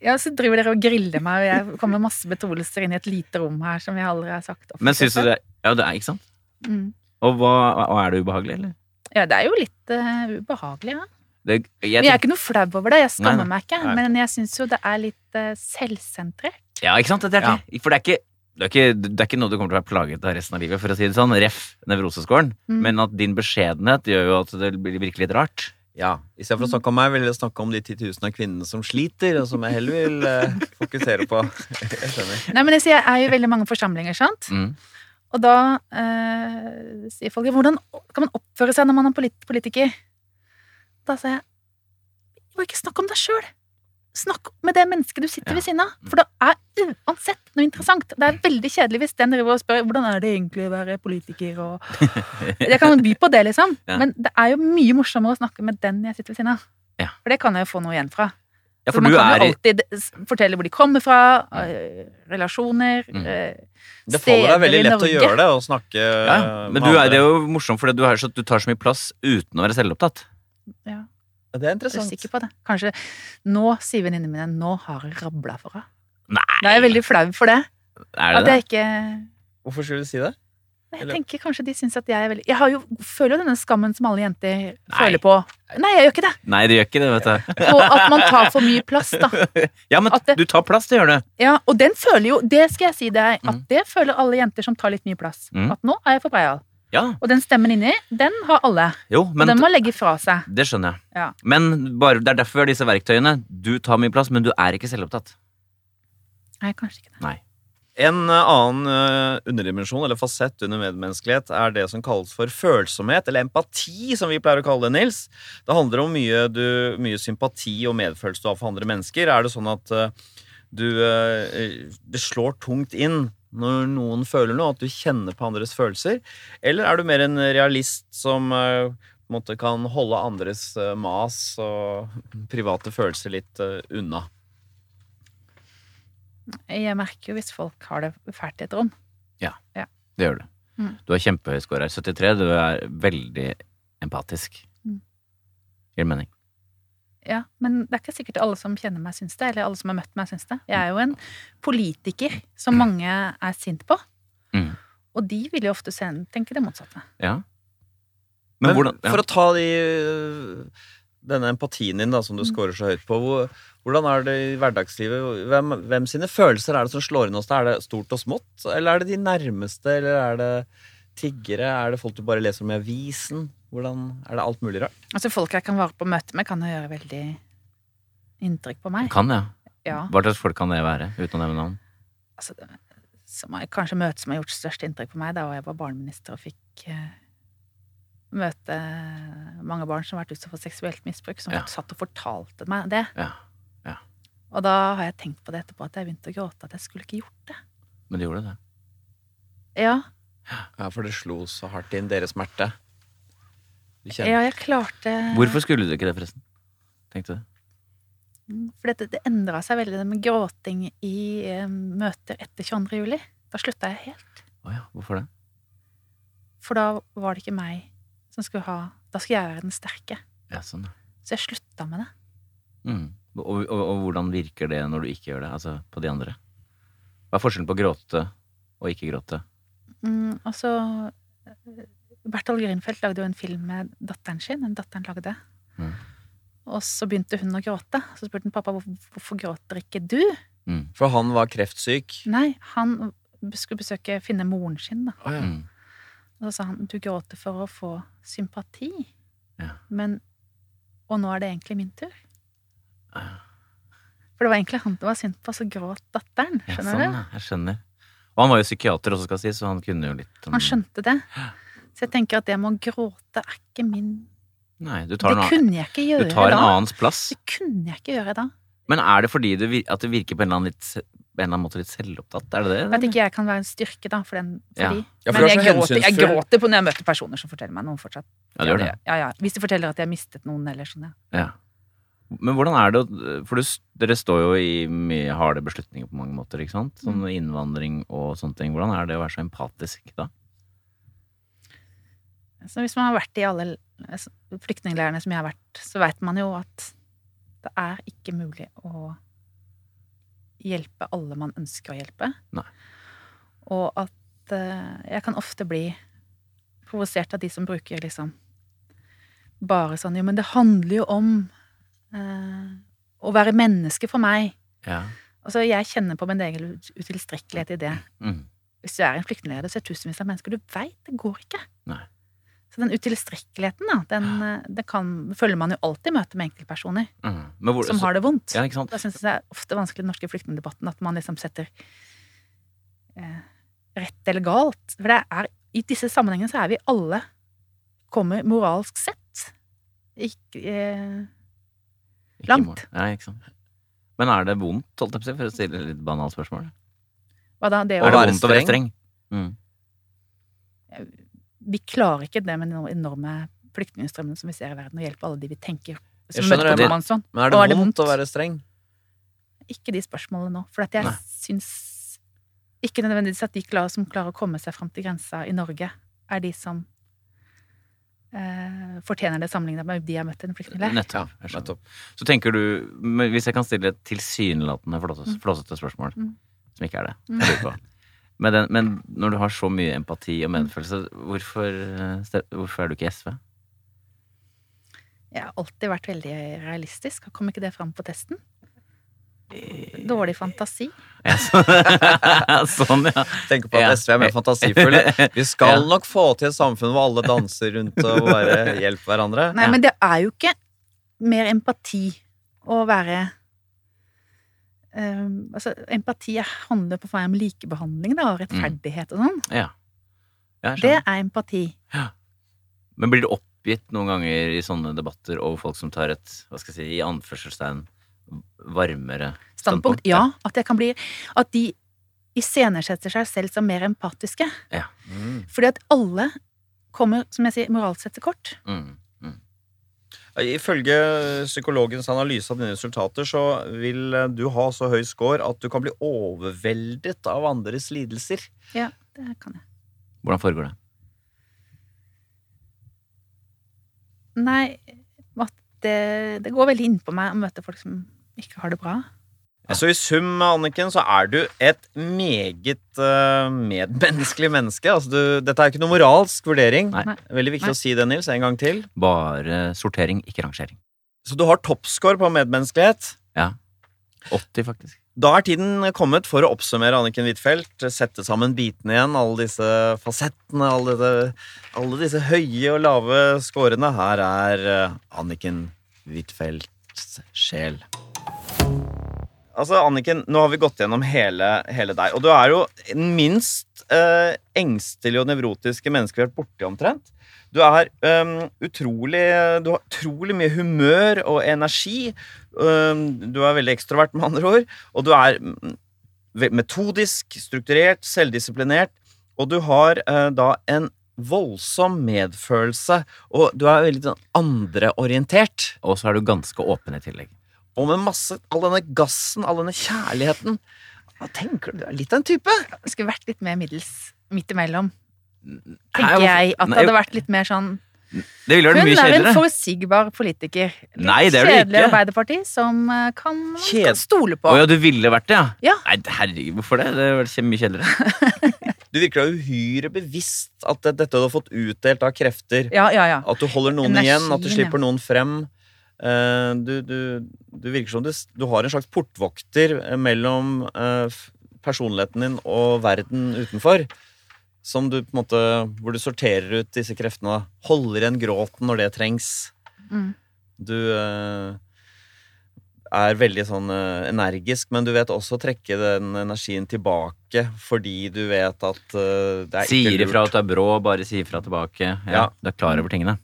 Ja, så driver dere og griller meg, og jeg kommer med masse betroelser inn i et lite rom her som jeg aldri har sagt
Men syns du det Ja, det er ikke sant?
Mm.
Og hva, og er det ubehagelig, eller?
Ja, det er jo litt eh, ubehagelig, ja.
Det, jeg
Men jeg er ikke noe flau over det, jeg
Nei,
skammer
nei.
meg ikke.
Nei.
Men jeg syns jo det er litt eh, selvsentrert.
Ja, ikke sant? Det er det. For det er, ikke, det, er ikke, det er ikke noe du kommer til å være plaget av resten av livet, for å si det sånn. Ref nevroseskåren.
Mm.
Men at din beskjedenhet gjør jo at det blir virkelig litt rart.
Ja, Istedenfor å snakke om meg, vil jeg snakke om de 10 000 av kvinnene som sliter, og som jeg heller vil eh, fokusere på. Jeg skjønner.
Nei, men jeg, sier, jeg er jo i veldig mange forsamlinger, sant.
Mm.
Og da eh, sier folk hvordan kan man oppføre seg når man er polit politiker? Da sa jeg bare ikke snakk om deg sjøl. Snakk med det mennesket du sitter
Ja. Mm.
ved siden av. For det er uansett noe interessant. Det er veldig kjedelig hvis den driver og spør hvordan er det egentlig å være politiker. Og... Jeg kan by på det, liksom.
Ja.
Men det er jo mye morsommere å snakke med den jeg sitter ved siden av.
Ja.
For det kan jeg jo få noe igjen fra.
Ja, for
man
du
kan
er
jo
i
alltid s- fortelle hvor de kommer fra, eh, relasjoner
Mm.
eh,
Det faller deg
steder i
veldig lett å
Norge.
gjøre det, å snakke
ja, ja. Men
med
du er,
andre.
det er jo morsomt, for du, er så, du tar så mye plass uten å være selvopptatt.
Ja,
Ja, Det er
jeg er
interessant.
sikker på det. Kanskje Nå, sier venninnene mine, nå har jeg rabla for henne.
Nei,
Da er jeg veldig flau for det.
er det
at
det?
jeg ikke
Hvorfor skulle du si det?
Jeg
Eller-
tenker kanskje de syns at jeg er veldig Jeg har jo, føler jo denne skammen som alle jenter
Nei.
føler på. Nei, jeg gjør ikke det.
Nei, det gjør ikke det, vet du.
Og at man tar for mye plass, da.
Ja, men
At det-
du tar plass, det gjør du.
Ja, og den føler jo Det skal jeg si deg, at
Mm.
det føler alle jenter som tar litt mye plass.
Mm.
At nå er jeg for breial.
Ja,
Og den stemmen inni, den har alle.
jo,
Og
men
den må legge fra seg.
det skjønner jeg.
Ja.
Men bare, det er derfor vi har disse verktøyene. Du tar mye plass, men du er ikke selvopptatt.
Nei, kanskje ikke det.
En eh, annen eh, underdimensjon eller fasett under medmenneskelighet er det som kalles for følsomhet, eller empati, som vi pleier å kalle det, Nils. Det handler om mye, du, mye sympati og medfølelse du har for andre mennesker. Er det sånn at eh, du eh, Det slår tungt inn når noen føler noe, at du kjenner på andres følelser? Eller er du mer en realist som eh, på en måte kan holde andres eh, mas og private følelser litt eh, unna?
Jeg merker jo hvis folk har det fælt i et rom.
Det gjør du.
Mm.
Du er kjempehøy score her. 73. Du er veldig empatisk.
Mm.
Gir det mening?
Ja, men det er ikke sikkert alle som kjenner meg syns det, eller alle som har møtt meg syns det. Jeg er jo en politiker som mange er sint på.
Mm.
Og de vil jo ofte se- tenke det motsatte.
Ja. Men,
Men
hvordan ja.
for å ta de, øh, denne empatien din da, som du
Mm.
scorer så høyt på, hvor- hvordan er det i hverdagslivet? Hvem, hvem sine følelser er det som slår inn hos deg? Er det stort og smått, eller er det de nærmeste, eller er det tiggere? Er det folk du bare leser om i avisen? Hvordan, er det alt mulig rart?
Altså Folk jeg kan være på møte med, kan jo gjøre veldig inntrykk på meg.
Kan, ja.
Ja,
Hva slags folk kan det være? Uten å nevne navn.
altså det- som er, Kanskje møtet som har gjort størst inntrykk på meg, da jeg var barneminister og fikk eh, møte mange barn som har vært utsatt for seksuelt misbruk, som
Ja.
satt og fortalte meg det.
Ja. Ja.
Og da har jeg tenkt på det etterpå, at jeg begynte å gråte, at jeg skulle ikke gjort det.
Men de gjorde det.
Ja,
Ja, for det slo så hardt inn deres smerte. Du kjenner.
ja jeg klarte
Hvorfor skulle du ikke det, forresten? Tenkte du.
For dette, det endra seg veldig, det med gråting i eh, møter etter 22. juli. Da slutta jeg helt.
Å ja, hvorfor det?
For da var det ikke meg som skulle ha Da skulle jeg være den sterke.
Ja, sånn. ja.
Så jeg slutta med det.
Mm. Og, og, og hvordan virker det når du ikke gjør det? Altså på de andre? Hva er forskjellen på å gråte og ikke gråte?
Mm, og så eh, Bertol Grünfeldt lagde jo en film med datteren sin. Den datteren lagde.
Mm.
Og så begynte hun å gråte. Så spurte hun pappa hvorfor, hvorfor gråter ikke du?
Mm.
For han var kreftsyk.
Nei, han skulle besøke finne moren sin, da.
Å, ja.
Mm.
Og så sa han du gråter for å få sympati.
Ja.
Men Og nå er det egentlig min tur.
Ja.
For det var egentlig han det var synd på, så gråt datteren.
Ja,
Skjønner
sånn,
du?
ja. Jeg skjønner. Og han var jo psykiater også, skal sies, så han kunne jo litt om
Han skjønte det. Så jeg tenker at det med å gråte er ikke min
Nei, du tar,
Det
en, annen,
kunne jeg ikke
du
gjøre
tar en
da.
annens plass.
Det kunne jeg ikke gjøre da.
Men er det fordi det, vir- at det virker på en eller annen, litt, se- på en eller annen måte litt selvopptatt? Er det det?
At ikke jeg kan være en styrke da, for, den, for
Ja.
de.
Ja, for
Men
du er
jeg
så
gråter, jeg
hensynsfull.
gråter på når jeg møter personer som forteller meg noe fortsatt.
Ja, det gjør det.
Ja, ja. Hvis de forteller at de har mistet noen eller sånn, ja.
Ja. Men hvordan er det å- For du, s- dere står jo i mye harde beslutninger på mange måter, ikke sant? Sånn
Mm.
innvandring og sånne ting. Hvordan er det å være så empatisk da?
Så hvis man har vært i alle eh, flyktningleirene som jeg har vært, så vet man jo at det er ikke mulig å hjelpe alle man ønsker å hjelpe.
Nei.
Og at eh, jeg kan ofte bli provosert av de som bruker liksom bare sånn Jo, men det handler jo om eh, å være menneske for meg.
Ja.
Altså, jeg kjenner på min egen ut- utilstrekkelighet i det.
Mm.
Hvis du er en flyktningleder, så er det tusenvis av mennesker. Du veit det går ikke.
Nei.
Så den utilstrekkeligheten, da, den, eh, det kan, følger man jo alltid i møte med enkeltpersoner
Mm. Men hvor,
som har det vondt.
Ja, ikke sant?
Da syns jeg det er ofte vanskelig i den norske flyktningdebatten at man liksom setter eh, rett eller galt. For det er, i disse sammenhengene så er vi alle kommer moralsk sett ikke eh,
Ikke
langt.
i morgen. Ja, ikke sant? Men er det vondt, holdt jeg på å si, for å stille et litt banalt spørsmål?
Hva da? Det
Er
å
det
være
vondt å være
streng?
streng? Mm.
Vi klarer ikke det med den enorme flyktningstrømmen som vi ser i verden, å hjelpe alle de vi tenker
Jeg
som
skjønner
møtte
det,
på Mansson.
Men er det,
Og er det
vondt
vondt?
å være streng?
Ikke de spørsmålene nå. For at jeg
Nei.
syns ikke nødvendigvis at de klar, som klarer å komme seg fram til grensa i Norge, er de som eh, fortjener det sammenlignet med de jeg møtte i en flyktningleir.
Ja,
Nettopp. jeg skjønner.
nettopp.
Så tenker du, men hvis jeg kan stille et tilsynelatende flåsete,
Mm.
flåsete spørsmål,
Mm.
som ikke er det,
Mm.
jeg lurer på. Men, den, men når du har så mye empati og medfølelse, hvorfor, eh, ste- hvorfor er du ikke i SV?
Jeg har alltid vært veldig realistisk. Kom ikke det fram på testen?
Eh,
Dårlig fantasi.
Ja, så, sånn, ja.
Tenker på at
Ja.
SV er mer fantasifulle. Vi skal nok få til et samfunn hvor alle danser rundt og bare hjelper hverandre.
Nei,
Ja.
men det er jo ikke mer empati å være eh, altså, Empati handler på meg om likebehandling da, og rettferdighet og sånn.
ja. ja Mm. jeg
Det
skjønner.
er empati.
Men blir du oppgitt noen ganger i sånne debatter over folk som tar et, hva skal jeg si, i anførselstegn, varmere
Standpunkt,
Standpunkt,
ja. At, jeg kan bli, at de iscenesetter seg selv som mer empatiske.
Mm.
Fordi at alle kommer, som jeg sier, moralsk sett til kort.
mm.
Ifølge psykologens analyse av dine resultater så vil eh, du ha så høy score at du kan bli overveldet av andres lidelser.
Det kan jeg.
Hvordan foregår det?
Nei, at det, det går veldig innpå meg å møte folk som ikke har det bra.
Så i sum, Anniken, så er du et meget eh, medmenneskelig menneske. Altså, du, dette er ikke noe moralsk vurdering.
Nei.
Nei.
Veldig viktig
Nei.
å si det, Nils, en gang til.
Bare sortering, ikke rangering.
Så du har toppscore på medmenneskelighet.
80 faktisk.
Da er tiden kommet for å oppsummere Anniken Huitfeldt. Sette sammen bitene igjen, alle disse fasettene, alle, det- alle disse høye og lave scorene. Her er eh, Anniken Huitfeldts sjel. Altså, Anniken, nå har vi gått gjennom hele, hele deg, og du er jo den minst eh, engstelige og nevrotiske mennesket vi har vært borti omtrent. Du er eh, utrolig Du har utrolig mye humør og energi. Eh, du er veldig ekstrovert, med andre ord. Og du er mm, ve- metodisk, strukturert, selvdisiplinert, og du har eh, da en voldsom medfølelse, og du er veldig sånn andreorientert.
Og så er du ganske åpen i tillegg.
Og med masse, all denne gassen, all denne kjærligheten Hva tenker du? Du er litt av en type.
Det skulle vært litt mer middels midt imellom,
Nei,
tenker
hvorfor-
jeg. At det
Nei,
hadde vært litt mer sånn
Det ville
Hun
vært
er
mye
en
kjedeligere.
forutsigbar politiker. Litt
Nei, det er du
kjedelig
ikke.
Arbeiderparti som eh, kan,
Kjed-
kan stole på.
Å ja, du ville vært det, ja?
Ja.
Nei, herregud, hvorfor det? Det er mye kjedeligere.
Du virker da uhyre bevisst at det, dette du har fått utdelt av krefter.
Ja, ja, ja.
At du holder noen
Energien,
igjen, at du slipper noen frem. Eh, Du, du, du virker som du, s- du har en slags portvokter eh, mellom eh, f- personligheten din og verden utenfor. Som du på en måte, hvor du sorterer ut disse kreftene. da. Holder igjen gråten når det trengs.
Mm.
Du eh, er veldig sånn eh, energisk, men du vet også å trekke den energien tilbake fordi du vet at eh, det er ikke
Sier
lurt.
ifra at du er brå, bare sier ifra tilbake. Ja,
Ja.
Du er klar over tingene.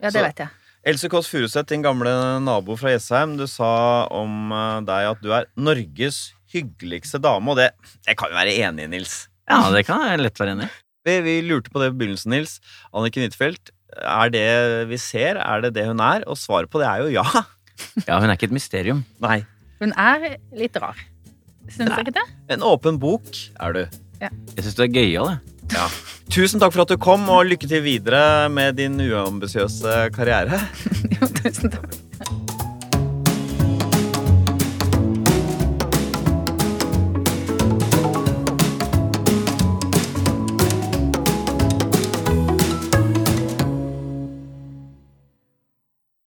Ja, det
Så-
vet jeg.
Else Kåss Furuseth, din gamle nabo fra Jessheim, du sa om eh, deg at du er Norges hyggeligste dame, og det jeg kan jo være enig i, Nils.
Ja, det kan jeg lett være enig i.
Vi, vi lurte på det i begynnelsen, Nils. Anniken Huitfeldt, er det vi ser, er det det hun er? Og svaret på det er jo ja.
Ja, hun er ikke et mysterium.
Nei.
Hun er litt rar. Syns du ikke det?
En åpen bok er du.
Jeg syns du er gøyal, jeg.
Tusen takk for at du kom, og lykke til videre med din uambisiøse karriere.
Jo, tusen takk.